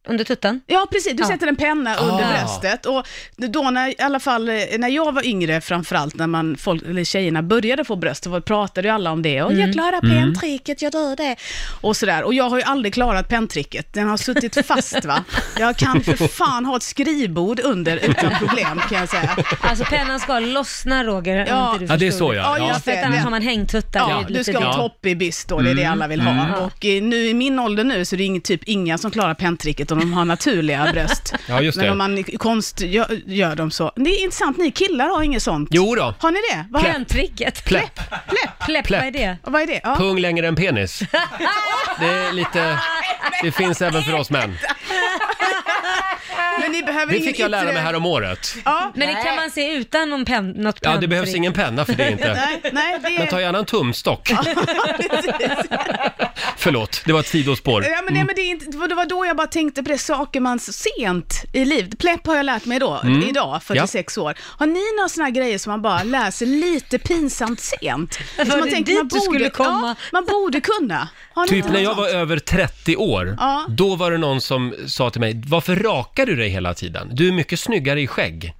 under tuttan.
Ja, precis. Du
Ja.
sätter en penna under
Ah.
bröstet. Och då när, i alla fall, eh, när jag var yngre, framförallt när man, folk, eller tjejerna började få bröst, då pratade ju alla om det. Och
Mm.
jag klarar penntricket, jag gör det. Och sådär. Och jag har ju aldrig klarat penntricket. Den har suttit fast va. Jag kan för fan ha ett skrivbord under utan problem kan jag säga.
Alltså pennan ska lossna Roger,
Ja.
om inte du
ja, det är
förstod.
så ja.
Ja,
ja.
just
För att annars har man hängtuttar. Det är
Ja,
lite
du ska ha
dumt.
topp i byst då, det är det
Mm.
alla vill ha. Och eh, nu i min ålder nu så är det ing, typ inga som klarar penntricket om de har naturliga bröst.
Ja, just
Men
det.
om man i konst gör, gör dem så. Det är intressant, ni killar har inget sånt.
Jo då.
Har ni det? Vad,
Penntricket.
Pläpp.
Pläpp.
Pläpp, vad är det?
vad är det? Ja.
Pung längre än penis. Det är lite... Det finns även för oss män.
Men ni behöver
Det
ingen
fick jag lära
yttre-
mig här om året.
Ja,
Men det kan man se utan någon pen, något
Ja, det
penntrick.
behövs ingen penna för det inte.
nej, nej, det
Men
är...
ta gärna en tumstock.
Precis.
Förlåt, det var ett sidospår.
Ja, men, nej, men det, är inte, det var då jag bara tänkte på det, saker man så sent i livet. Pläpp har jag lärt mig då,
Mm.
idag, 46 år. Har ni några sådana grejer som man bara läser lite pinsamt sent? Som
Var
man
det dit du skulle komma?
Ja, man borde kunna. Har ni
Typ
inte
när
något
jag var
sånt?
över 30 år,
Ja.
då var det någon som sa till mig, varför rakar du dig hela tiden? Du är mycket snyggare i skägg.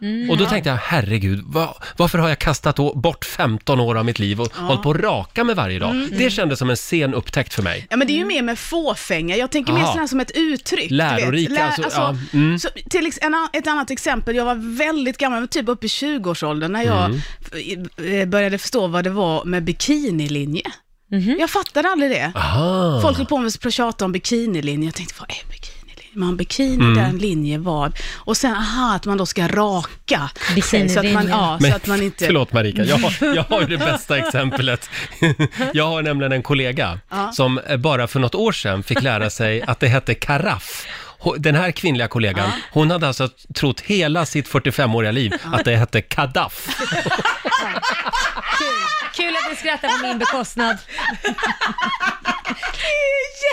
Mm,
Och då tänkte jag, herregud, va- varför har jag kastat å- bort 15 år av mitt liv och hållit på att raka mig varje dag?
Mm,
Det kändes som en sen upptäckt för mig.
Ja, men det är ju mer med fåfänga. Jag tänker
Aha.
mer sådär som ett uttryck.
Lärorika,
du vet. Lä-
alltså,
alltså,
ja, mm.
så, till ex- en, an- ett annat exempel, jag var väldigt gammal, men typ uppe i 20-årsåldern, när jag
Mm.
f- i- eh, började förstå vad det var med bikinilinje.
Mhm.
Jag fattade aldrig det.
Aha.
Folk höll på med att prata om bikinilinje. Jag tänkte, vad är bikinilinje? Man bikini,
Mm.
där en linje var. Och sen, aha, att man då ska raka. sig, Så att man,
Bikinilinjen.
ja,
Men-
så Alltså att man inte...
Förlåt Marika, jag har, jag har ju det bästa exemplet. Jag har nämligen en kollega som eh, bara för något år sedan fick lära sig att det hette karaff. Ho- Den här kvinnliga kollegan, hon hade alltså trott hela sitt 45-åriga liv att det hette kadaff.
Kul att ni skrattar på min bekostnad.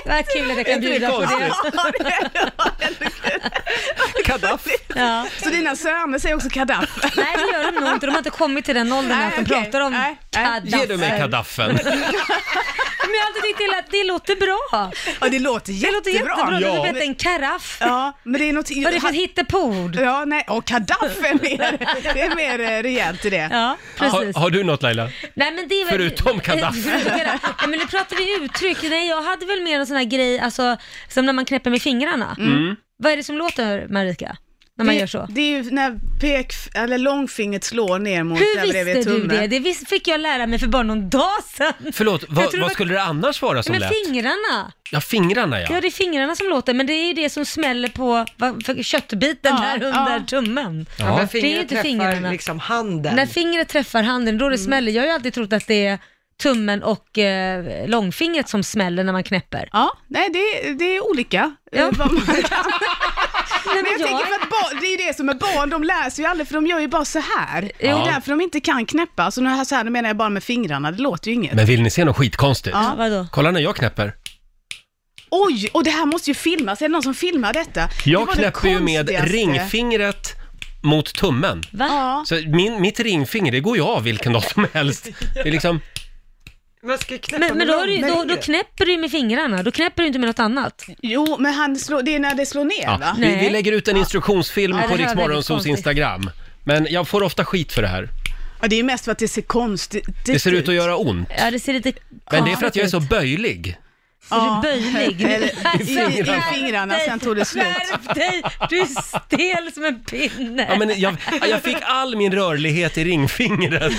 Vad kul att jag kan bjuda på det.
Kadaff.
Ja.
Så dina söner säger också kadaff.
Nej, det gör de nog inte. De har inte kommit till den åldern
Nej,
att de
okej.
pratar om
Nej, nej.
kadaffer.
Ge du mig kadaffen.
Men jag har alltid tyckt till att det låter bra.
Ja, det låter jättebra.
Det låter jättebra. Det
Ja.
låter bättre än karaff.
Ja, men det är något...
Vad är det för ett hittepord?
Ja, nej, och kadaff är mer, det är mer eh, rejält i det.
Ja, precis.
Har, har du något Laila?
Nej, men det är väl...
Förutom Gaddafi.
Förutom Gaddafi. Ja, men nu pratar vi uttryck. Nej, jag hade väl mer en sån här grej, alltså, som när man knäpper med fingrarna.
Mm.
Vad är det som låter, Marika? När man
det,
gör så?
Det är ju när pek, eller långfingret slår ner mot där
Hur
bredvid
visste du
tummen.
det? Det vis- fick jag lära mig för bara någon dag sedan.
Förlåt,
Jag
vad,
tror
vad
att-
skulle det annars vara som
Men
lät?
fingrarna.
Ja, fingrarna
Ja,
ja.
det är fingrarna som låter, men det är ju det som smäller på vad- för köttbiten
Ja,
där under
ja.
tummen.
Ja, men
Det är ju
fingret
inte
träffar
fingrarna.
liksom handen.
När fingret träffar handen, då det smäller. Jag har ju alltid trott att det är tummen och eh, långfingret som smäller när man knäpper.
Ja, nej det, är- det är olika.
Ja.
eh, vad man kan.
Nej,
Men jag tänker för att barn, det är ju det som är barn, de läser ju aldrig för de gör ju bara så här.
Ja.
Det är därför de inte kan knäppa. Så nu här så här, nu menar jag bara med fingrarna, det låter ju inget.
Men vill ni se något skitkonstigt?
Ja, vadå?
Kolla när jag knäpper.
Oj, och det här måste ju filmas. Är det någon som filmar detta? Det
Jag
var det
knäpper ju med
konstigaste.
ringfingret mot tummen.
Va?
Ja.
Så min, mitt ringfinger, det går ju av vilken dag som helst. Det är liksom,
Man ska knäppa
Men, men då, har du,
med
då, då
långfingret.
knäpper du ju med fingrarna, då knäpper du inte med något annat.
Jo, men han slår, det är när det slår ner
ja.
va?
vi, vi
Nej.
lägger ut en instruktionsfilm
Ja, det
på
här var
Rix
väldigt
Morgonzos
konstigt.
Instagram. Men jag får ofta skit för det här.
Ja, det är ju mest för att det ser konstigt
Det ser ut att göra ont.
Ja, det ser lite
Men det är för att jag är så
konstigt
böjlig.
ut. Är du böjlig?
Eller, i- i
Skärp dig!
fingrarna, sen tog det slut.
Skärp dig! Du är stel som en pinne.
Ja, men jag, jag fick all min rörlighet i ringfingret.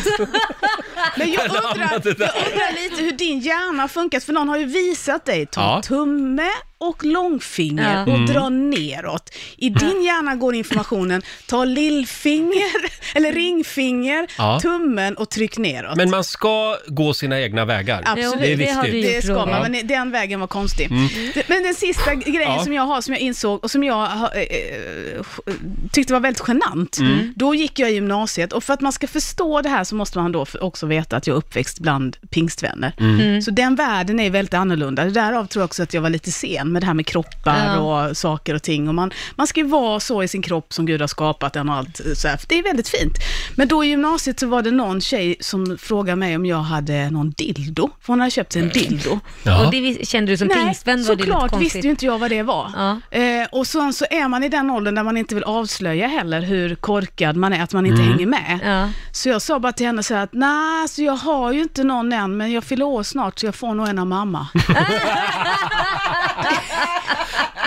Men jag
Eller
undrar, jag
annat det där.
undrar lite hur din hjärna funkar, för någon har ju visat dig ta
Ja. Mm.
tumme och långfinger
Ja.
och dra neråt. I din hjärna går informationen, ta lillfinger eller ringfinger,
Ja.
tummen och tryck neråt.
Men man ska gå sina egna vägar.
Absolut.
Jo,
Det
är
det har
viktigt. Mm.
du
Det
gjort
ska
Roger.
man, men den vägen var konstig. Det- Men den sista grejen
Ja.
som jag har, som jag insåg och som jag har, eh, eh, tyckte var väldigt genant,
Mm.
då gick jag i gymnasiet och för att man ska förstå det här så måste man då f- också veta att jag är uppväxt bland pingstvänner.
Mm.
Mm.
Så den världen är väldigt annorlunda. Därav tror jag också att jag var lite sen med det här med kroppar
Ja.
och saker och ting. Och man, man ska ju vara så i sin kropp som Gud har skapat den och allt så här. För det är väldigt fint. Men då i gymnasiet så var det någon tjej som frågade mig om jag hade någon dildo. För hon hade köpt en dildo.
Ja.
Och det vis- kände du som pingstvän var det lite
såklart
konstigt.
visste ju inte jag vad det var.
Ja.
Eh, och sen så är man i den åldern där man inte vill avslöja heller hur korkad man är, att man inte hänger med.
Ja.
Så jag sa bara till henne så här att nej, så jag har ju inte någon än, men jag fyller år snart så jag får nog en av mamma.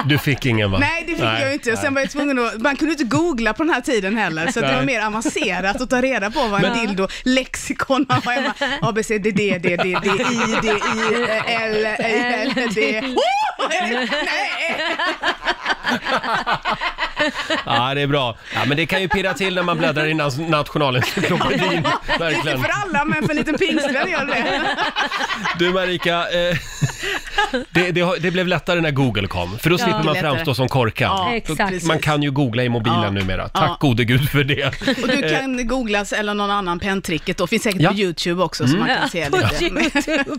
Du fick ingen va?
Nej, det fick jag ju inte. Och Sen var jag tvungen att, man kunde inte googla på den här tiden heller, så att det var
Nej.
mer avancerat att ta reda på vad en dildo, lexikon, man var hemma, ABC, D, D, D, D, D, I, D, I, L, L, L, D, oh! Nej!
Ja, det är bra. Ja, men det kan ju pirra till när man bläddrar i nas- Nationalencyklopedin.
Inte
Verkligen.
för alla, men för en liten pingstvän gör det.
Du Marika, eh, det, det, har- det blev lättare när Google kom, för då slipper man
lättare.
framstå som korkad.
Ja,
Exakt.
Man kan ju googla i mobilen
Ja.
numera. Tack
Ja.
gode gud för det.
Och du kan googlas eller någon annan penntricket då. Finns säkert
Eh. Ja.
på YouTube också så man kan se lite. Mm.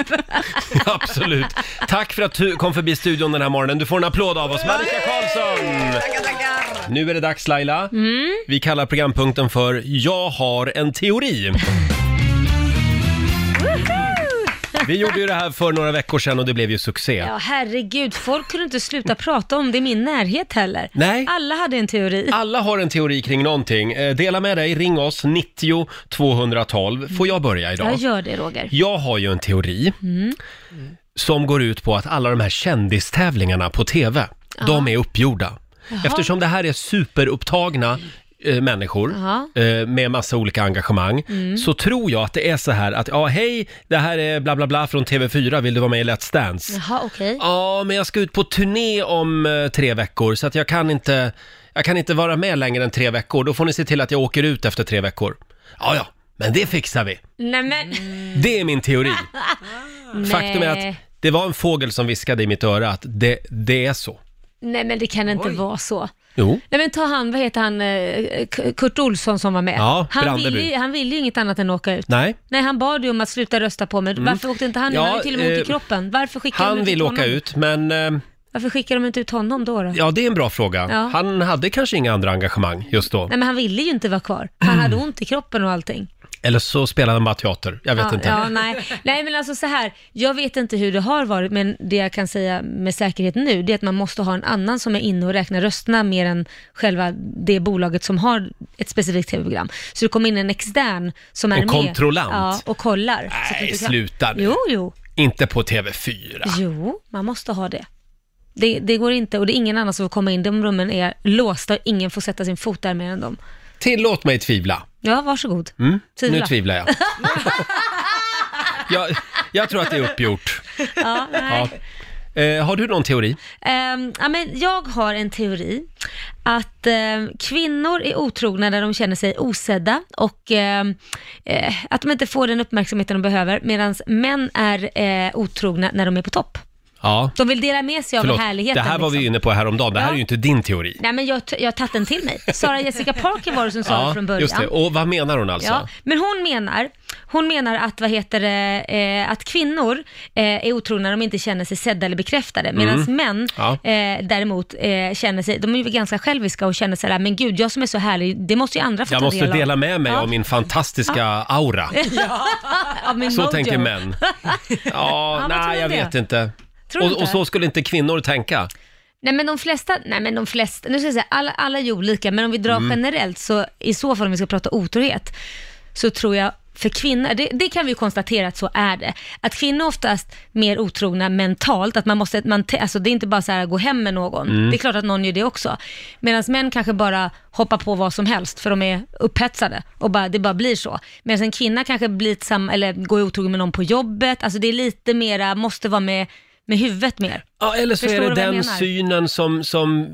Absolut. Tack för att du kom förbi studion den här morgonen. Du får en applåd av oss, Marika Karlsson!
Tackar, tackar.
Nu är det dags Laila.
Mm.
Vi kallar programpunkten för Jag har en teori. Vi gjorde ju det här för några veckor sedan och det blev ju succé.
Ja, herregud. Folk kunde inte sluta prata om det i min närhet heller.
Nej.
Alla hade en teori.
Alla har en teori kring någonting. Eh, Dela med dig, ring oss, 90 212. Får jag börja idag?
Jag gör Mm. det, Roger.
Jag har ju en teori som går ut på att alla de här kändistävlingarna på TV, de är uppgjorda. Eftersom det här är superupptagna eh, människor
Jaha. Mm.
eh, med massa olika engagemang, så tror jag att det är så här att ja, hej, det här är bla bla bla från TV4, vill du vara med i Let's Dance?
Jaha, okej.
Ja, men jag ska ut på turné om eh, tre veckor så att jag kan inte, jag kan inte vara med längre än tre veckor. Då får ni se till att jag åker ut efter tre veckor. Ja, ja, men det fixar vi.
Nej men,
Det är min teori. Mm. Faktum är att
nej.
det var en fågel som viskade i mitt öra att det, det är så.
nej men det kan inte vara så.
Jo.
Nej men ta han, vad heter han, eh, K- Kurt Olsson som var med.
Ja,
han,
Brandeby.
ville, ju- han ville ju inget annat än att åka ut.
Nej.
Nej, han bad ju om att sluta rösta på mig. Varför åkte inte han?
Mm. Ja,
han har ju till och med ont
eh,
i kroppen. Varför skickar de
Han
inte
vill
honom?
åka ut, men eh,
Varför skickar de inte ut honom då? då?
ja, det är en bra fråga.
Ja.
Han hade kanske inga andra engagemang just då.
Nej men han ville ju inte vara kvar. Han hade ont i kroppen och allting.
Eller så spelade han bara teater. Mm. Jag vet
ja,
inte.
Ja, nej. nej men alltså så här, jag vet inte hur det har varit men det jag kan säga med säkerhet nu det är att man måste ha en annan som är inne och räknar rösterna mer än själva det bolaget som har ett specifikt tv-program. Så det kommer in en extern som är
En
med.
kontrollant.
Ja, och kollar. Så att
Nej,
du kan-
sluta nu.
Jo, jo.
Inte på TV4.
Jo, man måste ha det. Det, det går inte och det är ingen annan som får komma in. De rummen är låsta och ingen får sätta sin fot där mer än dem.
Tillåt mig tvivla.
Ja, varsågod.
Mm,
Tvivla.
Nu tvivlar jag. jag. Jag tror att det är uppgjort.
Ja, nej.
Ja. Eh, har du någon teori?
Ehm, ja, men jag har en teori att ehm, kvinnor är otrogna när de känner sig osedda och ehm, eh, att de inte får den uppmärksamheten de behöver medan män är eh, otrogna när de är på topp.
Ja,
De vill dela med sig av
förlåt. Det
härligheten.
här var vi
liksom.
ju inne på häromdagen. Det här
Ja.
är ju inte din teori.
Nej men jag, t- jag har tagit den till mig. Sara Jessica Parker var det som sa det från början.
just det. Och vad menar hon alltså?
Ja, men hon menar, hon menar att, vad heter det, eh, att kvinnor eh, är otrogna när de inte känner sig sedda eller bekräftade. Medan män
Mm. Ja.
eh, däremot eh, känner sig, de är ju ganska själviska och känner sig där, men gud, jag som är så härlig, det måste ju andra få
Jag
ta
måste
del av.
dela med mig
Ja.
av min fantastiska aura.
Av min
Så
mojo.
tänker män. Ja,
vad tror
nej
du
jag
om det?
vet inte.
Tror du
Och,
inte?
och så skulle inte kvinnor tänka.
Nej men de flesta, nej men de flesta, nu ska jag säga, alla, alla är ju olika, men om vi drar generellt så, i så fall om vi ska prata otrohet, så tror jag för kvinnor. Det, det kan vi ju konstatera att så är det. Att kvinnor är oftast mer otrogna mentalt, att man måste, man, te- alltså det är inte bara så här gå hem med någon. Det är klart att någon gör det också. Medan män kanske bara hoppar på vad som helst för de är upphetsade och bara, det bara blir så. Medan en kvinna kanske blir sam- eller går otrogen med någon på jobbet, alltså det är lite mera, måste vara med, med huvudet mer.
Ja, eller så
Förstår
är det
du vad jag
den
menar?
synen som, som,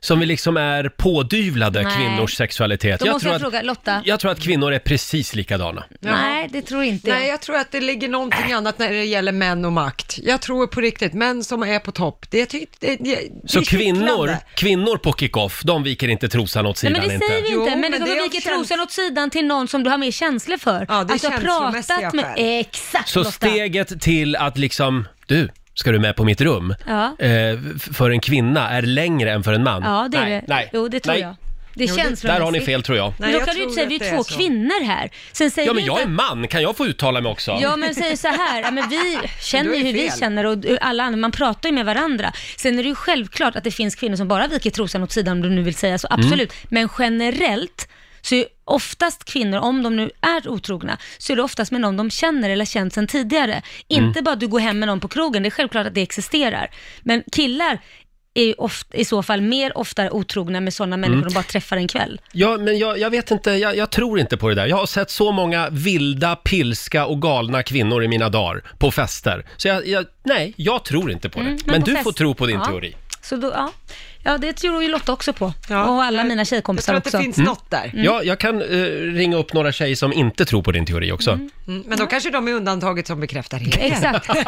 som vi liksom är pådyvlade
Nej.
kvinnors sexualitet.
Då måste jag fråga, Lotta?
jag tror att kvinnor är precis likadana.
Nej, det tror inte jag.
Nej, jag tror att det ligger
Äh.
någonting annat när det gäller män och makt. Jag tror på riktigt, män som är på topp. Det, ty- det, det, det
Så
är
kvinnor,
kittlande.
kvinnor på kick-off, de viker inte trosan åt
Nej
sidan
men det säger
inte.
vi inte,
Jo,
men liksom det
men det är
kommer
av
vika
käns-
trosan åt sidan till någon som du har mer känslor för.
Ja, det är
att du har
känslomässiga
pratat med...
skäl.
Exakt
Så
Lotta.
steget till att liksom, du, ska du med på mitt rum?
Ja.
Eh, f- för en kvinna är längre än för en man.
Ja, det är
nej,
det.
Nej.
Jo, det tror
nej.
jag. Det är känslomässigt.
Där har ni fel tror jag.
Men
Nej,
då
jag
kan du
tror
inte säga, vi
att
är
det
två
är så.
kvinnor här. Sen säger
Ja
vi
men jag
inte
är
att-
man, kan jag få uttala mig också?
Ja men säger så här, ja, men vi känner
Då är
ju
det
hur vi
fel.
känner och alla andra, man pratar ju med varandra. Sen är det ju självklart att det finns kvinnor som bara viker trosan åt sidan om du nu vill säga så,
Mm.
absolut. Men generellt så är oftast kvinnor, om de nu är otrogna, så är det oftast med någon de känner eller känt sedan tidigare.
Mm.
Inte bara att du går hem med någon på krogen, det är självklart att det existerar. Men killar är ju oft, i så fall mer oftare otrogna med sådana människor
Mm.
de bara träffar en kväll.
Ja, men jag, jag vet inte, jag, jag tror inte på det där. Jag har sett så många vilda, pilska och galna kvinnor i mina dagar på fester. Så jag, jag nej, jag tror inte på det.
Mm,
men
men på
du
fest-
får tro på din
ja.
teori.
Så då, ja. ja, det tror ju Lotta också på.
Ja.
Och alla
Jag-
mina
Jag tror
tjejkompisar
att det
också.
Mm.
finns något där.
Mm.
Ja, jag kan eh, ringa upp några tjejer som inte tror på din teori också.
Mm, Men då kanske de är undantaget som bekräftar helheten.
Exakt.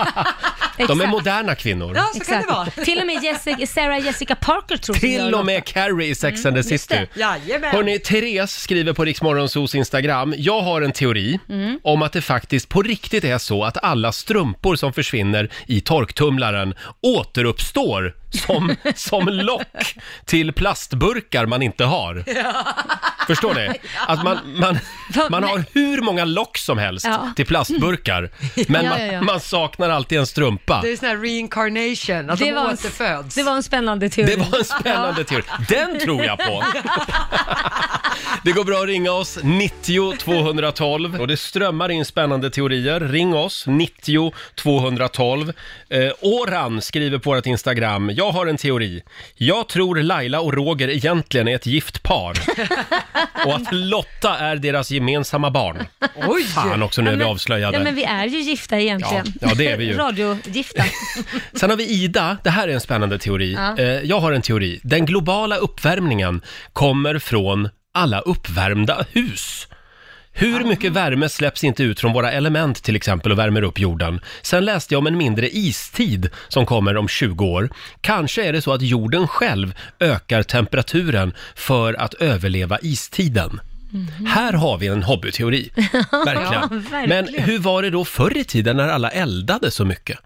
De är
Exakt.
moderna kvinnor.
Ja, så kan det vara.
Till och med Jessica, Sarah Jessica Parker tror som jag
Till och
Lotta.
med Carrie i Sex
Mm.
and the City.
Jajamän.
Hörni, Therese skriver på Riksmorgonsos Instagram, jag har en teori om att det faktiskt på riktigt är så att alla strumpor som försvinner i torktumlaren återuppstår som, som lock till plastburkar man inte har. Förstår ni? Att man, man,
Va,
man har
nej.
hur många lock som helst
Ja.
till plastburkar, men
Ja,
man,
ja, ja.
man saknar alltid en strumpa.
Det är sån här reincarnation, att de
en-
återföds.
det var en spännande teori.
Det var en spännande teori. Den tror jag på! Det går bra att ringa oss, 90 212. Och det strömmar in spännande teorier. Ring oss, 90 212. Eh, Oran skriver på vårt Instagram, jag har en teori. Jag tror Laila och Roger egentligen är ett gift par. Och att Lotta är deras gemensamma barn.
Oj!
Fan också, nu är vi
Ja, men
avslöjade.
vi är ju gifta egentligen.
Ja, ja, det är vi ju.
Radiogifta.
Sen har vi Ida, det här är en spännande teori. Eh, jag har en teori. Den globala uppvärmningen kommer från alla uppvärmda hus. Hur mycket värme släpps inte ut från våra element till exempel och värmer upp jorden? Sen läste jag om en mindre istid som kommer om 20 år. Kanske är det så att jorden själv ökar temperaturen för att överleva istiden. Här har vi en hobbyteori, verkligen.
Mhm. verkligen.
Men hur var det då förr i tiden när alla eldade så mycket?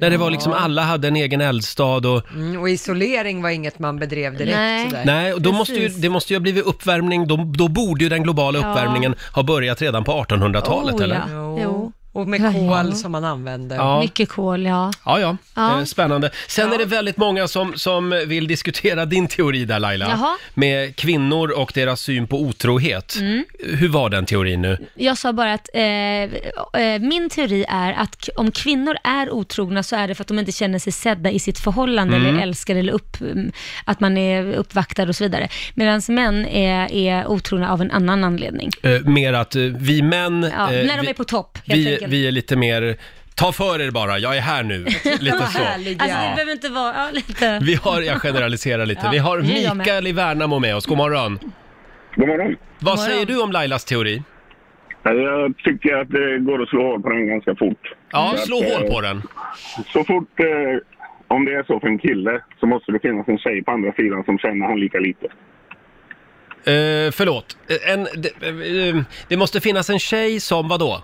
När det var liksom alla hade en egen eldstad och...
Mm, och isolering var inget man bedrev direkt
Nej.
sådär.
Nej, och då måste ju,
Precis.
det måste ju ha blivit uppvärmning, då, då borde ju den globala uppvärmningen ha börjat redan på 1800-talet
Oh,
eller?
ja. Jo.
Och med
Ja.
kol som man använder.
Ja.
Mycket kol, ja.
Ja, ja.
Ja.
Eh, Spännande. Sen är det väldigt många som, som vill diskutera din teori där Laila.
Jaha.
Med kvinnor och deras syn på otrohet.
Mm.
Hur var den teorin nu?
Jag sa bara att eh, eh, min teori är att k- om kvinnor är otrogna så är det för att de inte känner sig sedda i sitt förhållande eller älskade eller upp, mm, att man är uppvaktad och så vidare. Medan män är, är otrogna av en annan anledning.
Eh, mer att eh, vi män...
Ja,
eh,
när de
vi,
är på topp, helt
vi,
enkelt.
vi är lite mer, ta för er bara, jag är här nu. lite så.
härliga.
Alltså det behöver inte vara, ja lite.
Vi har, jag generaliserar lite,
Ja,
vi har
det är jag med.
Mikael i Värnamo med oss, god morgon.
God morgon.
Vad
morgon.
säger du om Lailas teori?
Jag tycker att det går att slå hål på den ganska fort.
Ja,
Mm.
slå hål på den.
Så fort, eh, om det är så för en kille, så måste det finnas en tjej på andra sidan som känner han lika lite.
Eh, förlåt, Eh, en, det, eh, det måste finnas en tjej som vadå?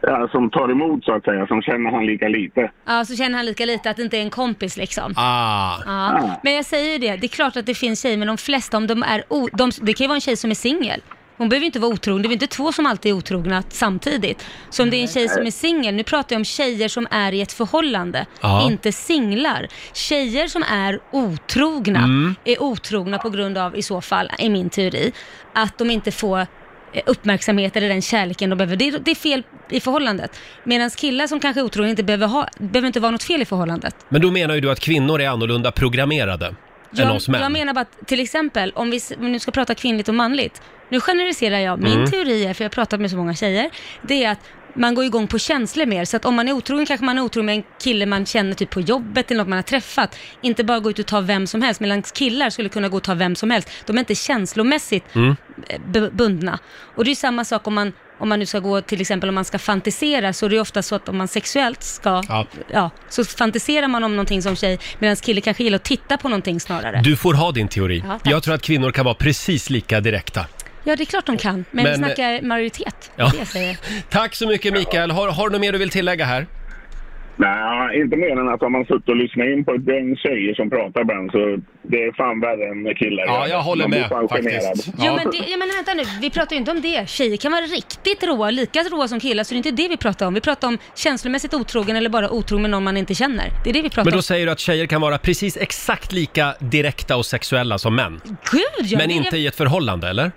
Ja, som tar emot så att säga, som känner han lika lite.
Ja, så känner han lika lite att det inte är en kompis liksom.
Ah,
Ja. Men jag säger ju det, det är klart att det finns tjejer, men de flesta, om de är o- de, det kan ju vara en tjej som är singel. Hon behöver ju inte vara otrogen, det är väl inte två som alltid är otrogna samtidigt. Så om det är en tjej som är singel, nu pratar jag om tjejer som är i ett förhållande,
Ja.
inte singlar. Tjejer som är
Mm.
otrogna, är otrogna på grund av, i så fall, i min teori, att de inte får eh, uppmärksamhet eller den kärleken de behöver. Det är, det är fel i förhållandet. Medan killar som kanske är otrogna inte behöver, ha, behöver inte vara något fel i förhållandet.
Men då menar ju du att kvinnor är annorlunda programmerade än
Jag,
oss män.
jag menar bara att till exempel om vi s- om vi nu ska prata kvinnligt och manligt. Nu generaliserar jag. Min
Mm.
teori är, för jag har pratat med så många tjejer, det är att man går igång på känslor mer. Så att om man är otrogen kanske man är otrogen med en kille man känner typ på jobbet eller något man har träffat. Inte bara gå ut och ta vem som helst. Medan killar skulle kunna gå och ta vem som helst. De är inte känslomässigt
Mm.
eh, b- bundna. Och det är ju samma sak om man, om man nu ska gå, till exempel om man ska fantisera, så är det ju ofta så att om man sexuellt ska,
Ja.
ja. så fantiserar man om någonting som tjej, medan kille kanske gillar att titta på någonting snarare.
Du får ha din teori.
Ja, tack.
jag tror att kvinnor kan vara precis lika direkta.
Ja, det är klart de kan, men,
Men- eh,
vi snackar majoritet.
Ja.
Ja. Det jag säger.
Tack så mycket Mikael. Har, har du något mer du vill tillägga här?
Nej, inte mer än att om man suttit och lyssnat in på ett gäng tjejer som pratar ibland så det är fan värre än killar.
Ja, jag håller
man blir
med,
fan
faktiskt.
generad.
Ja.
Jo, men, det, ja, men vänta nu, vi pratar ju inte om det. Tjejer kan vara riktigt råa, lika råa som killar, så det är inte det vi pratar om. Vi pratar om känslomässigt otrogen eller bara otrogen med någon man inte känner. Det är det vi pratar
Men
om.
då säger du att tjejer kan vara precis exakt lika direkta och sexuella som män.
Gud, ja,
Men
det är-
inte i ett förhållande, eller?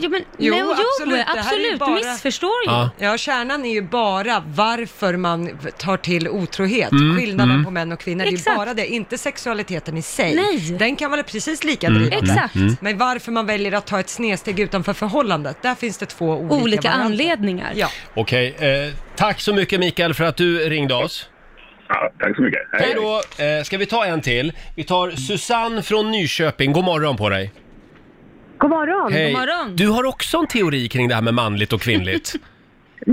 Jo, men,
Jo,
nej, och jo,
absolut, det
absolut.
här är ju bara-
Du missförstår ju.
Ja.
Ja, kärnan är ju bara varför man tar till otrohet.
Mm,
Skillnaden på män och kvinnor, det är
Exakt.
bara det. Inte sexualiteten i sig.
Nej.
Den kan vara precis lika
Mm,
driven.
Exakt.
Men varför man väljer att ta ett snedsteg utanför förhållandet, där finns det två olika,
Olika
varianter.
anledningar.
Ja.
Okej, eh, tack så mycket Mikael för att du ringde oss.
Ja, tack så mycket.
Hej då! Eh, ska vi ta en till? Vi tar Susanne från Nyköping. God morgon på dig!
God morgon.
Hej!
Mm, morgon.
Du har också en teori kring det här med manligt och kvinnligt.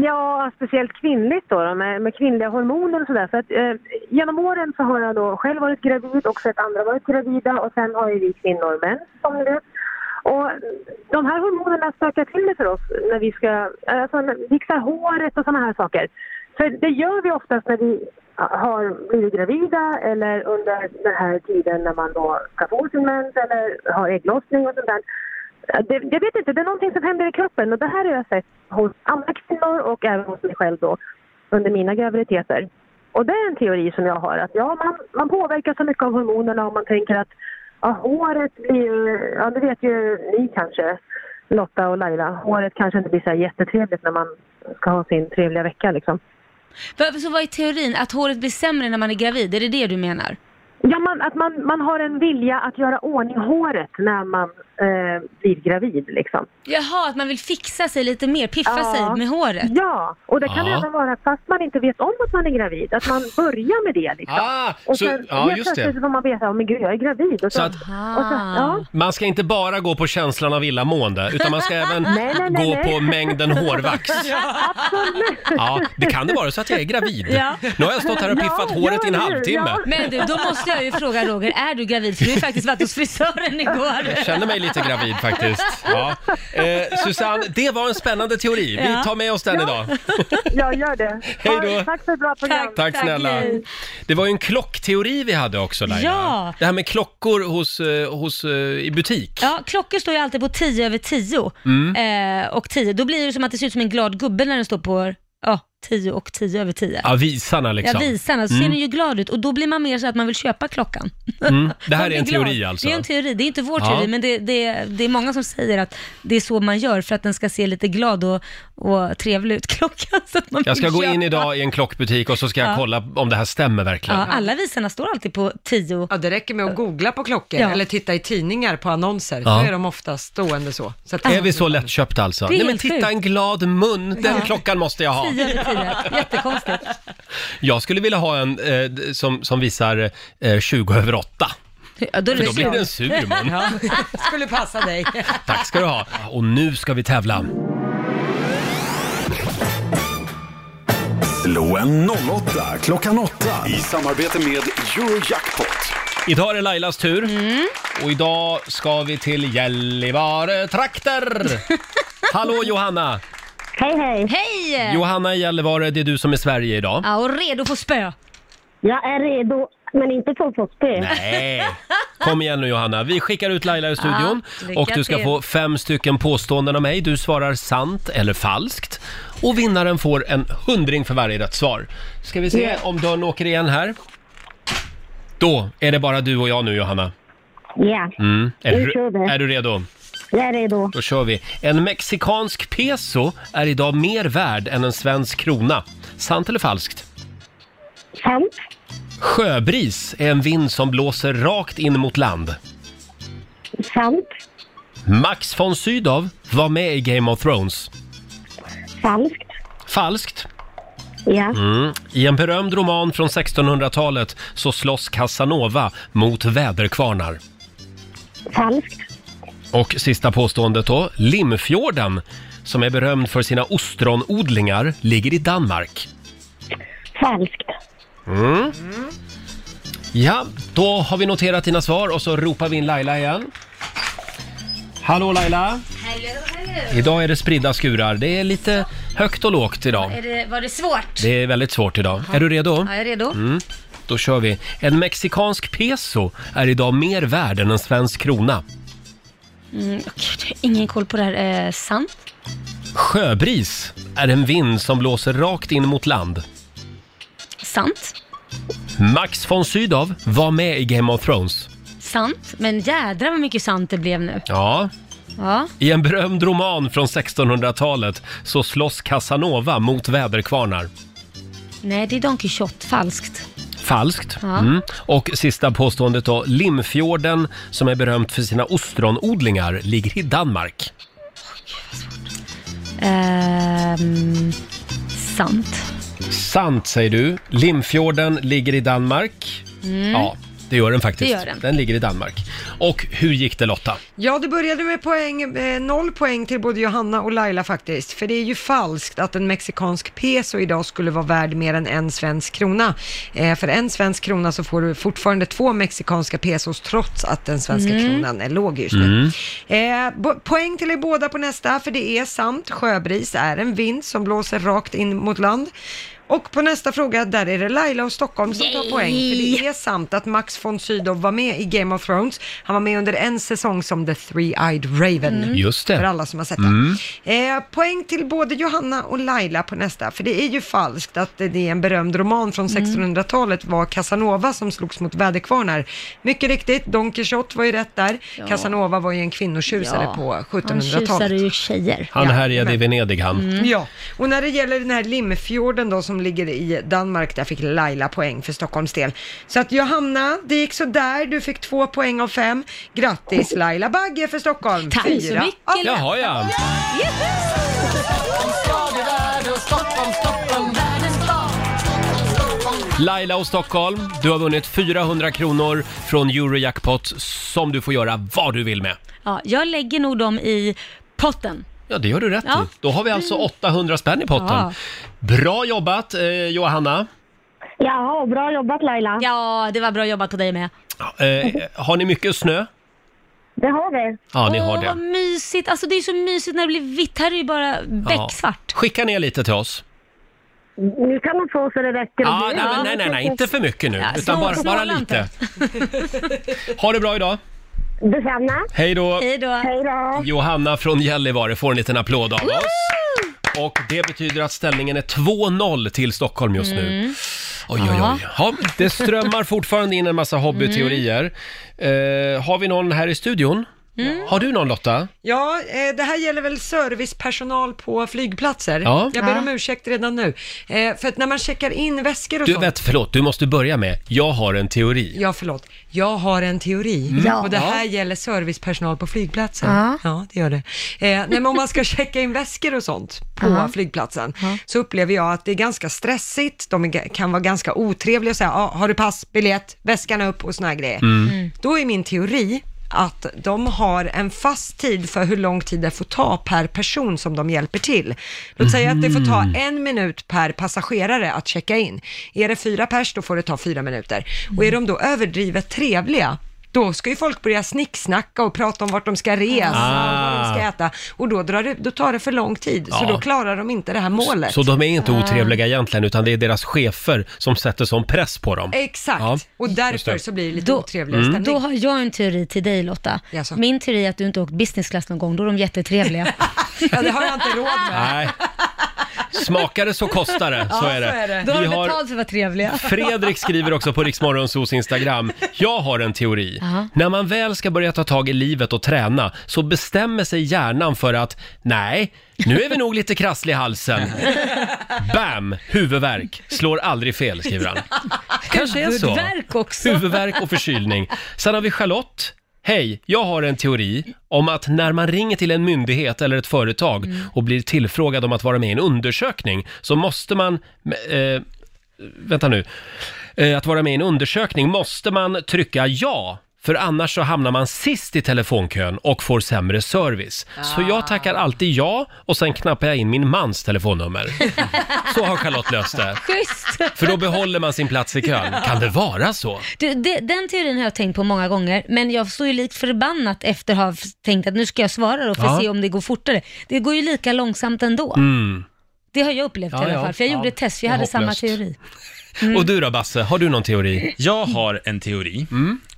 Ja, speciellt kvinnligt då, då med, med kvinnliga hormoner och sådär. För att, eh, genom åren så har jag då själv varit gravid och sett andra varit gravida och sen har ju vi kvinnor män som ni vet. Och de här hormonerna stökar till det för oss när vi ska alltså, fixa håret och sådana här saker. För det gör vi oftast när vi har blivit gravida eller under den här tiden när man då ska få sin mens eller har ägglossning och sånt där. Det, jag vet inte, det är någonting som händer i kroppen och det här har jag sett hos andra kvinnor och även hos mig själv då under mina graviditeter. Och det är en teori som jag har att ja, man, man påverkas så mycket av hormonerna om man tänker att ja, håret blir ju, ja det vet ju ni kanske, Lotta och Laila, håret kanske inte blir så här jättetrevligt när man ska ha sin trevliga vecka liksom.
Va- Så vad är teorin? Att håret blir sämre när man är gravid? Är det det du menar?
Ja, man, att man, man har en vilja att göra ordning håret när man eh, blir gravid liksom.
Jaha, att man vill fixa sig lite mer, piffa
Ja.
sig med håret.
Ja, och det kan
Ja.
även vara fast man inte vet om att man är gravid, att man börjar med det. Liksom.
Ah,
och
så-
sen
ja,
helt
just det.
plötsligt så får man veta, oh, men gud jag är gravid. Och
Så att-
och så,
Ah.
ja.
Man ska inte bara gå på känslan av illamående, utan man ska även
Nej, nej, nej,
gå
nej.
på mängden hårvax. Ja, det kan det vara så att jag är gravid.
Ja.
Nu har jag stått här och piffat
Ja,
håret i en
ja,
halvtimme.
ja.
Men du, då måste jag ju fråga Roger, är du gravid? För du har ju faktiskt varit hos frisören igår.
Jag känner mig lite gravid faktiskt. Ja. Eh, Susanne, det var en spännande teori. Vi
Ja.
tar med oss den idag.
Jag gör det.
Hej då.
Ja, Tack för ett bra program.
Tack, snälla.
hej.
Det var ju en klockteori vi hade också Laila.
Ja.
Det här med klockor hos, eh, hos, eh, i butik. Mm.
Ja, klockor står ju alltid på 10 över 10 eh, och 10. Då blir det som att det ser ut som en glad gubbe när den står på ja, 10 och 10 över 10.
Ja, visarna
Ja,
liksom.
visarna, så ser den ju glad ut och då blir man mer så att man vill köpa klockan.
Mm. Det här
Man
är en
blir glad.
teori alltså.
Det är en teori, det är inte vår
Ja.
teori, men det, det, det är många som säger att det är så man gör för att den ska se lite glad och, och trevlig ut, klockan. Så att man
Jag ska
vill
gå
köpa.
in idag i en klockbutik och så ska jag
Ja.
kolla om det här stämmer
Ja,
verkligen.
alla visarna står alltid på 10.
Ja, det räcker med att googla på klockor
Ja.
eller titta i tidningar på annonser.
Ja.
Då är de ofta stående så. så att
Är vi så lättköpta alltså?
Det är
Nej men
helt
titta,
sjukt.
en glad mun. Den
Ja.
klockan måste jag ha.
10 över 10, jättekonstigt.
Jag skulle vilja ha en eh, d- som, som visar eh, 20 över 8.
Ja, då är
För då
det
blir det en
glad.
sur mun.
Ja, skulle passa dig.
Tack ska du ha. Och nu ska vi tävla.
Slå en 08 klockan 8
I samarbete med Eurojackpot.
Idag är det Lailas tur.
Mm.
Och idag ska vi till Gällivare trakter. Hallå Johanna!
Hej, hej.
Hej!
Johanna i Gällivare, det är du som är Sverige idag.
Ja, och redo för spö.
Jag är redo, men inte på fotboll.
Nej! Kom igen nu Johanna, vi skickar ut Laila ur studion
Ja, lycka
och du ska
till.
få fem stycken påståenden av mig. Du svarar sant eller falskt och vinnaren får en hundring för varje rätt svar. Ska vi se om dörren åker igen här. Då är det bara du och jag nu Johanna.
Ja.
Mm. Är,
Nu kör
du,
vi.
är du redo?
Jag är redo.
Då kör vi. En mexikansk peso är idag mer värd än en svensk krona. Sant eller falskt?
Sant.
Sjöbris är en vind som blåser rakt in mot land.
Sant.
Max von Sydow var med i Game of Thrones.
Falskt.
Falskt?
Ja.
Mm. I en berömd roman från 1600-talet så slåss Casanova mot väderkvarnar.
Falskt.
Och sista påståendet då. Limfjorden, som är berömd för sina ostronodlingar, ligger i Danmark.
Falskt.
Mm. Ja, då har vi noterat dina svar och så ropar vi in Laila igen. Hallå Laila! Idag är det spridda skurar. Det är lite högt och lågt idag.
Är det, var det svårt?
Det är väldigt svårt idag. Är du redo?
Ja, jag är redo.
Mm. Då kör vi. En mexikansk peso är idag mer värd än en svensk krona.
Mm, åh, gud, ingen koll på det här. Eh, sant?
Sjöbris är en vind som blåser rakt in mot land.
Sant?
Max von Sydow var med i Game of Thrones.
Sant? Men jädra vad mycket sant det blev nu.
Ja.
Ja.
I en berömd roman från 1600-talet så slåss Casanova mot väderkvarnar.
Nej, det är Don Quijote. Falskt.
Falskt.
Ja.
Mm. Och sista påståendet då. Limfjorden, som är berömt för sina ostronodlingar, ligger i Danmark.
Ehm, sant.
Sant, säger du. Limfjorden ligger i Danmark.
Mm.
Ja, det gör den faktiskt.
Det gör den.
den ligger i Danmark. Och hur gick det Lotta?
Ja, det började med poäng, eh, noll poäng till både Johanna och Laila faktiskt. För det är ju falskt att en mexikansk peso idag skulle vara värd mer än en svensk krona. Eh, för en svensk krona så får du fortfarande två mexikanska pesos trots att den svenska
Mm.
kronan är låg just nu. Eh, bo- poäng till er båda på nästa, för det är sant. Sjöbris är en vind som blåser rakt in mot land. Och på nästa fråga, där är det Laila och Stockholm som tar
Yay!
poäng. För det är sant att Max von Sydow var med i Game of Thrones. Han var med under en säsong som The Three-Eyed Raven.
Mm. Just det.
För alla som har sett
Mm.
den. Eh, poäng till både Johanna och Laila på nästa. För det är ju falskt att det är en berömd roman från
Mm.
1600-talet var Casanova som slogs mot väderkvarnar. Mycket riktigt, Don Quijote var ju rätt där.
Ja.
Casanova var ju en kvinnotjusare
Ja.
på
Han
1700-talet.
tjusade ju tjejer.
Han
Ja, Mm.
härjade i
men-
Venedig han.
Ja, och när det gäller den här Limfjorden då som ligger i Danmark, där fick Laila poäng för Stockholms del. Så att Johanna, det gick sådär, du fick två poäng av fem. Grattis Laila Bagge för Stockholm!
Tack så mycket,
av
Laila.
Jaha ja. Laila och Stockholm, du har vunnit 400 kronor från Eurojackpot som du får göra vad du vill med.
Ja, jag lägger nog dem i potten.
Ja, det gör du rätt
Ja.
i. Då har vi
Mm.
alltså 800 spänn i potten.
Ja.
Bra jobbat eh, Johanna.
Ja, bra jobbat Laila. Ja, det var bra jobbat på dig med.
Eh, har ni mycket snö?
Det har vi.
Ja, ni har
Åh,
det.
vad mysigt. Alltså det är så mysigt när det blir vitt. Här är det ju bara becksvart.
Ja. Skicka ner lite till oss.
Nu kan man få så det räcker.
Ah, nej, men nej, nej, nej, inte för mycket nu, utan bara, bara lite. Ha det bra idag.
Detsamma.
Hej då.
då. Hej
då.
Johanna från Gällivare får en liten applåd av oss. Och det betyder att ställningen är 2-0 till Stockholm just nu.
Mm.
Oj, oj,
Ja.
oj. Ja, det strömmar fortfarande in en massa hobbyteorier. Eh, har vi någon här i studion?
Mm.
Har du någon Lotta?
Ja, eh, det här gäller väl servicepersonal på flygplatser.
Ja.
Jag ber
Ja.
om ursäkt redan nu. Eh, För att när man checkar in väskor och
Du,
sånt.
vet, förlåt, du måste börja med, jag har en teori.
Ja, förlåt. Jag har en teori
Mm. Ja.
och det här
Ja.
gäller servicepersonal på flygplatser.
Ja.
ja, det gör det. Eh, nej, men om man ska checka in väskor och sånt på
Ja.
flygplatsen
Ja.
så upplever jag att det är ganska stressigt. De är, ga- kan vara ganska otrevliga och säga, ah, har du pass, biljett, väskan upp och såna här grejer.
Mm. Mm.
Då är min teori att de har en fast tid för hur lång tid det får ta per person som de hjälper till. Låt säga att det får ta
Mhm.
en minut per passagerare att checka in. Är det fyra pers, då får det ta fyra minuter. Och är de då överdrivet trevliga, då ska ju folk börja snicksnacka och prata om vart de ska resa och vad de ska
Ah.
äta. Och då, drar det, då tar det för lång tid, så
Ja.
då klarar de inte det här målet.
Så de är inte otrevliga egentligen, utan det är deras chefer som sätter sån press på dem.
Exakt,
Ja,
och
just det.
därför så blir det lite otrevligare
Mm.
stämning.
Då har jag en teori till dig Lotta. Min teori är att du inte har åkt business class någon gång, då är de jättetrevliga.
Ja, det har jag inte råd med.
Nej. Smakar det så kostar det, så är det.
Då har
Vi
de
har-
betalt för att vara trevliga.
Fredrik skriver också på Riksmorgonsos Instagram. Jag har en teori.
Ja.
När man väl ska börja ta tag i livet och träna så bestämmer sig hjärnan för att nej, nu är vi nog lite krasslig i halsen. Bam! Huvudvärk. Slår aldrig fel, skriver han. Kanske är så.
Huvudvärk också.
Huvudvärk och förkylning. Sen har vi Charlotte. Hej, jag har en teori om att när man ringer till en myndighet eller ett företag
Mm.
och blir tillfrågad om att vara med i en undersökning så måste man... Eh, vänta nu. Eh, att vara med i en undersökning måste man trycka ja. För annars så hamnar man sist i telefonkön och får sämre service. Så jag tackar
Ah.
alltid ja och sen knappar jag in min mans telefonnummer. Så har Charlotte löst det.
Schysst!
För då behåller man sin plats i kön. Kan det vara så?
Du, de, den teorin har jag tänkt på många gånger, men jag står ju likt förbannat efter att ha f- tänkt att nu ska jag svara då för
Ja.
att se om det går fortare. Det går ju lika långsamt ändå.
Mm.
Det har jag upplevt
Ja,
i alla
ja.
fall, för jag
Ja.
gjorde ett test, för jag
Det är
hade samma
hopplöst.
teori.
Mm.
Och du då Basse, har du någon teori?
Jag har en teori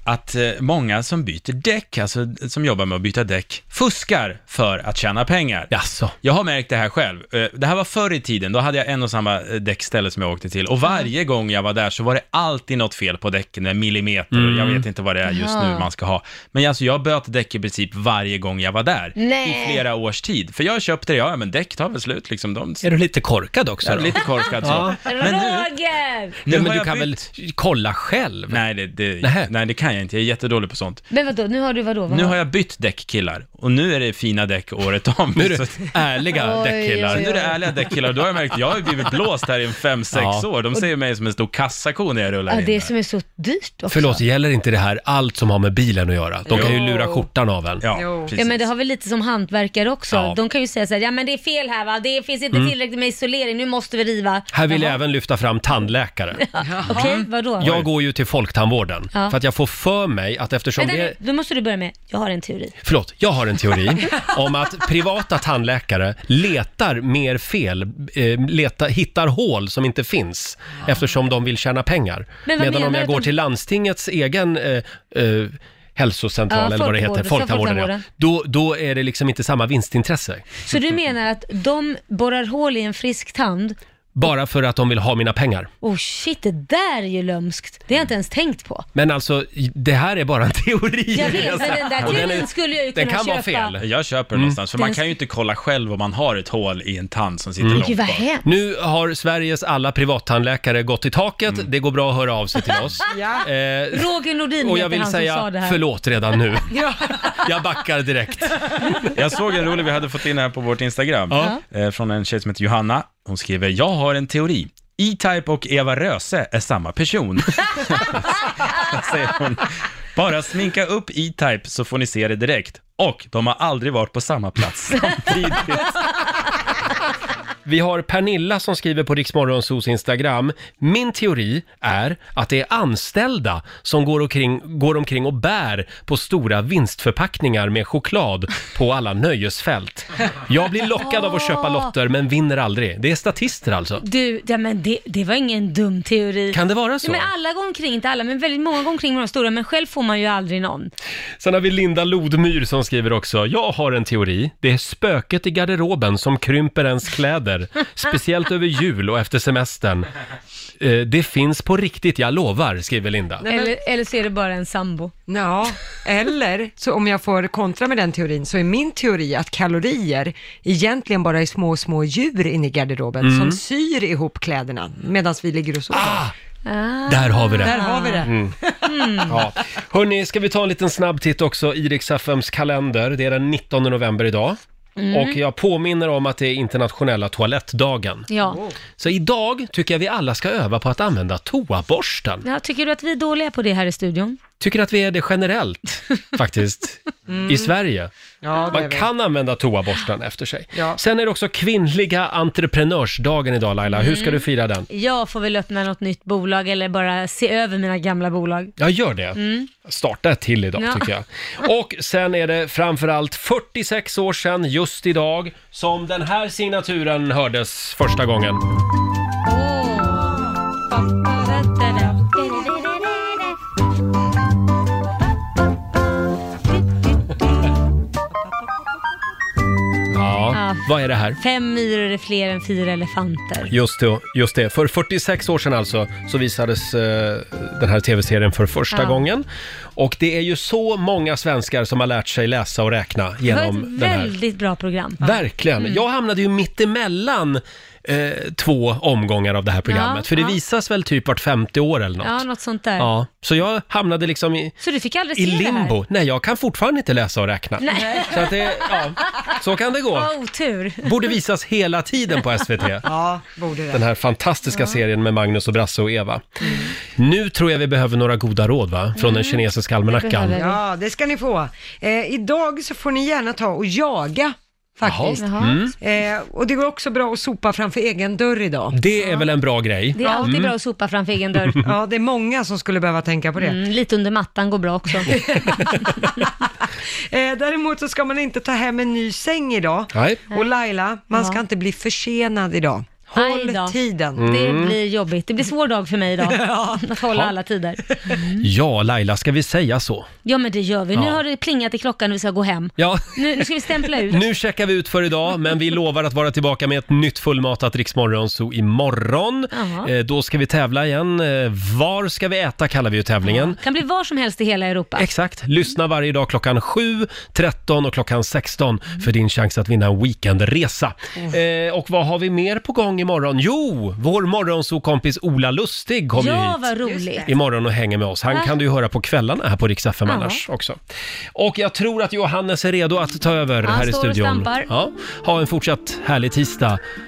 att eh, många som byter däck, alltså som jobbar med att byta däck, fuskar för att tjäna pengar.
Jaså.
Jag har märkt det här själv. Eh, Det här var förr i tiden, då hade jag en och samma eh, däckställe som jag åkte till och varje gång jag var där så var det alltid något fel på däcken, en millimeter, och jag
Mm.
vet inte vad det är just nu
Jaha.
man ska ha. Men alltså jag böt däck i princip varje gång jag var där,
Nej.
i flera års tid. För jag köpte det, ja men däck tar väl slut liksom. De...
Är du lite korkad också?
Jag är
då?
lite korkad så.
Ja.
Men nu,
Roger!
nu
Nej,
har
men du
jag
kan
bytt.
väl kolla själv?
Nej det, det,
Nähä.
nej, det kan jag inte. Jag är jättedålig på sånt.
Men vadå, nu har du vadå? Vad
Nu har jag bytt däckkillar och nu är det fina däck året om.
Nu är det
Så att-
ärliga
Oj,
däckkillar.
nu är det ärliga däckkillar och då har jag märkt, jag har ju blivit blåst här i en fem sex
Ja.
år. De ser ju mig som en stor kassako när jag rullar
ja,
in.
det
där.
som är så dyrt också.
Förlåt, gäller inte det här allt som har med bilen att göra? De kan ju
Jo.
lura skjortan av en.
Ja,
Jo.
precis.
Ja men det har väl lite som hantverkare också.
Ja. Mm.
De kan ju säga så här, ja men det är fel här va, det finns inte tillräckligt med isolering, nu måste vi riva.
Här vill jag
Jaha.
även lyfta fram tandläkare.
Okej, vadå?
Jag går ju till folktandvården
Ja.
för att jag får för mig att eftersom
Vänta
det är...
nu, då måste du börja med, jag har en teori.
Förlåt, jag har en teori om att privata tandläkare letar mer fel, eh, leta, hittar hål som inte finns eftersom de vill tjäna pengar.
Men vad
Medan om
menar
jag
du
går
att de-
till landstingets egen eh, eh, hälsocentral
Ja,
eller vad det heter,
folktandvården,
folktandvården, ja. då, då är det liksom inte samma vinstintresse.
Så du menar att de borrar hål i en frisk tand?
Bara för att de vill ha mina pengar.
Oh shit, det där är ju lömskt. Det har jag inte ens tänkt på.
Men alltså, det här är bara en teori.
Jag vet, men den där
Och den
teorin
är-
skulle jag ju
den
kunna
kan vara
köpa.
fel.
Jag köper
Mm.
det någonstans, för man
Den-
kan ju inte kolla själv om man har ett hål i en tand som
Mm.
sitter långt
Gud vad
bak.
hemskt.
Nu har Sveriges alla privattandläkare gått i taket. Det går bra att höra av sig till oss.
Ja.
Eh,
Roger Nordin
Och
heter
jag vill
han som sa det
säga
här.
förlåt redan nu.
Ja.
Jag backar direkt.
Jag såg en rolig vi hade fått in här på vårt Instagram, eh, från en tjej som heter Johanna. Hon skriver, jag har en teori. E-Type och Eva Röse är samma person. Säger hon. Bara sminka upp E-Type så får ni se det direkt. Och de har aldrig varit på samma plats samtidigt.
Vi har Pernilla som skriver på Riksmorgonsos Instagram. Min teori är att det är anställda som går omkring, går omkring och bär på stora vinstförpackningar med choklad på alla nöjesfält. Jag blir lockad av att köpa lotter men vinner aldrig. Det är statister alltså.
Du, ja, men det, det var ingen dum teori.
Kan det vara
Ja,
så?
men alla går omkring, inte alla, men väldigt många går omkring med de stora, men själv får man ju aldrig någon.
Sen har vi Linda Lodmyr som skriver också. Jag har en teori. Det är spöket i garderoben som krymper ens kläder. Speciellt över jul och efter semestern. Eh, Det finns på riktigt, jag lovar, skriver Linda.
men-
Eller, eller så är det bara en sambo.
Ja, eller så om jag får kontra med den teorin så är min teori att kalorier egentligen bara är små, små djur inne i garderoben
Mm.
som syr ihop kläderna medan vi ligger och sover.
Ah.
Där Mm. har vi
Där
det.
har vi det.
Ja. Hörni, ska vi ta en liten snabb titt också i Rix FMs kalender. Det är den 19 november idag. Och jag påminner om att det är internationella toalettdagen.
Ja.
Så idag tycker jag vi alla ska öva på att använda toaborsten.
ja. Tycker du att vi är dåliga på det här i studion?
Tycker att vi är det generellt, faktiskt, i Sverige.
Ja, det är
Man
vi.
kan använda toaborsten efter sig.
Ja.
Sen är det också kvinnliga entreprenörsdagen idag Laila. Hur
Mm.
ska du fira den?
Jag får väl öppna något nytt bolag eller bara se över mina gamla bolag.
Ja, gör det. Starta ett till idag
Mm. Ja.
tycker jag. Och sen är det framförallt 46 år sedan just idag som den här signaturen hördes första gången. Ja,
Ja,
Vad är det här?
Fem myror är fler än fyra elefanter.
Just det, just det. För 46 år sedan alltså så visades eh, den här tv-serien för första
Ja.
gången. Och det är ju så många svenskar som har lärt sig läsa och räkna genom
det
den
var ett
här.
väldigt bra program.
Verkligen.
Mm.
Jag hamnade ju mittemellan eh, två omgångar av det här programmet.
Ja,
för det
ja.
visas väl typ vart 50 år eller något.
Ja, något sånt där.
Ja, så jag hamnade liksom i,
Så du fick aldrig
i
se
limbo. Nej, jag kan fortfarande inte läsa och räkna.
det här? Nej.
Så att det, ja, så kan det gå.
Vad otur.
Borde visas hela tiden på SVT.
Ja, borde det.
Den här fantastiska serien med Magnus och Brasse och Eva.
Mm.
Nu tror jag vi behöver några goda råd va? Från den kinesiska almanackan.
Ja, det ska ni få. Eh, idag så får ni gärna ta och jaga faktiskt.
Jaha. Mm.
Eh, och det går också bra att sopa framför egen dörr idag.
Det är väl en bra grej?
Det är alltid
Mm.
bra att sopa framför egen dörr.
Ja, det är många som skulle behöva tänka på det.
Mm, lite under mattan går bra också.
Eh, däremot så ska man inte ta hem en ny säng idag.
Nej.
Och Laila, man
Ja.
ska inte bli försenad idag.
Aj
Håll
då.
tiden.
Det blir jobbigt. Det blir svår dag för mig idag.
Mm.
Att hålla
Ja.
alla tider. Mm.
Ja, Laila, ska vi säga så?
Ja men det gör vi. Nu
Ja.
har det plingat i klockan och vi ska gå hem.
Ja.
Nu, nu ska vi stämpla ut.
Nu checkar vi ut för idag, men vi lovar att vara tillbaka med ett nytt fullmatat Riksmorgonzoo imorgon.
Jaha.
Eh, då ska vi tävla igen. Eh, var ska vi äta kallar vi ju tävlingen.
kan bli var som helst i hela Europa.
Exakt. Lyssna varje dag klockan 7, 13 och klockan 16 för din chans att vinna en weekendresa.
Oh.
Eh, och vad har vi mer på gång imorgon? Jo, vår morgonsokompis Ola Lustig kommer ju
ja
hit.
vad roligt.
Imorgon och hänger med oss. Han
Ah.
kan du ju höra på kvällarna här på Rix FM
Ja.
annars också. Och jag tror att Johannes är redo att ta över
Han
här i
står och
studion.
stampar.
Ja. Ha en fortsatt härlig tisdag.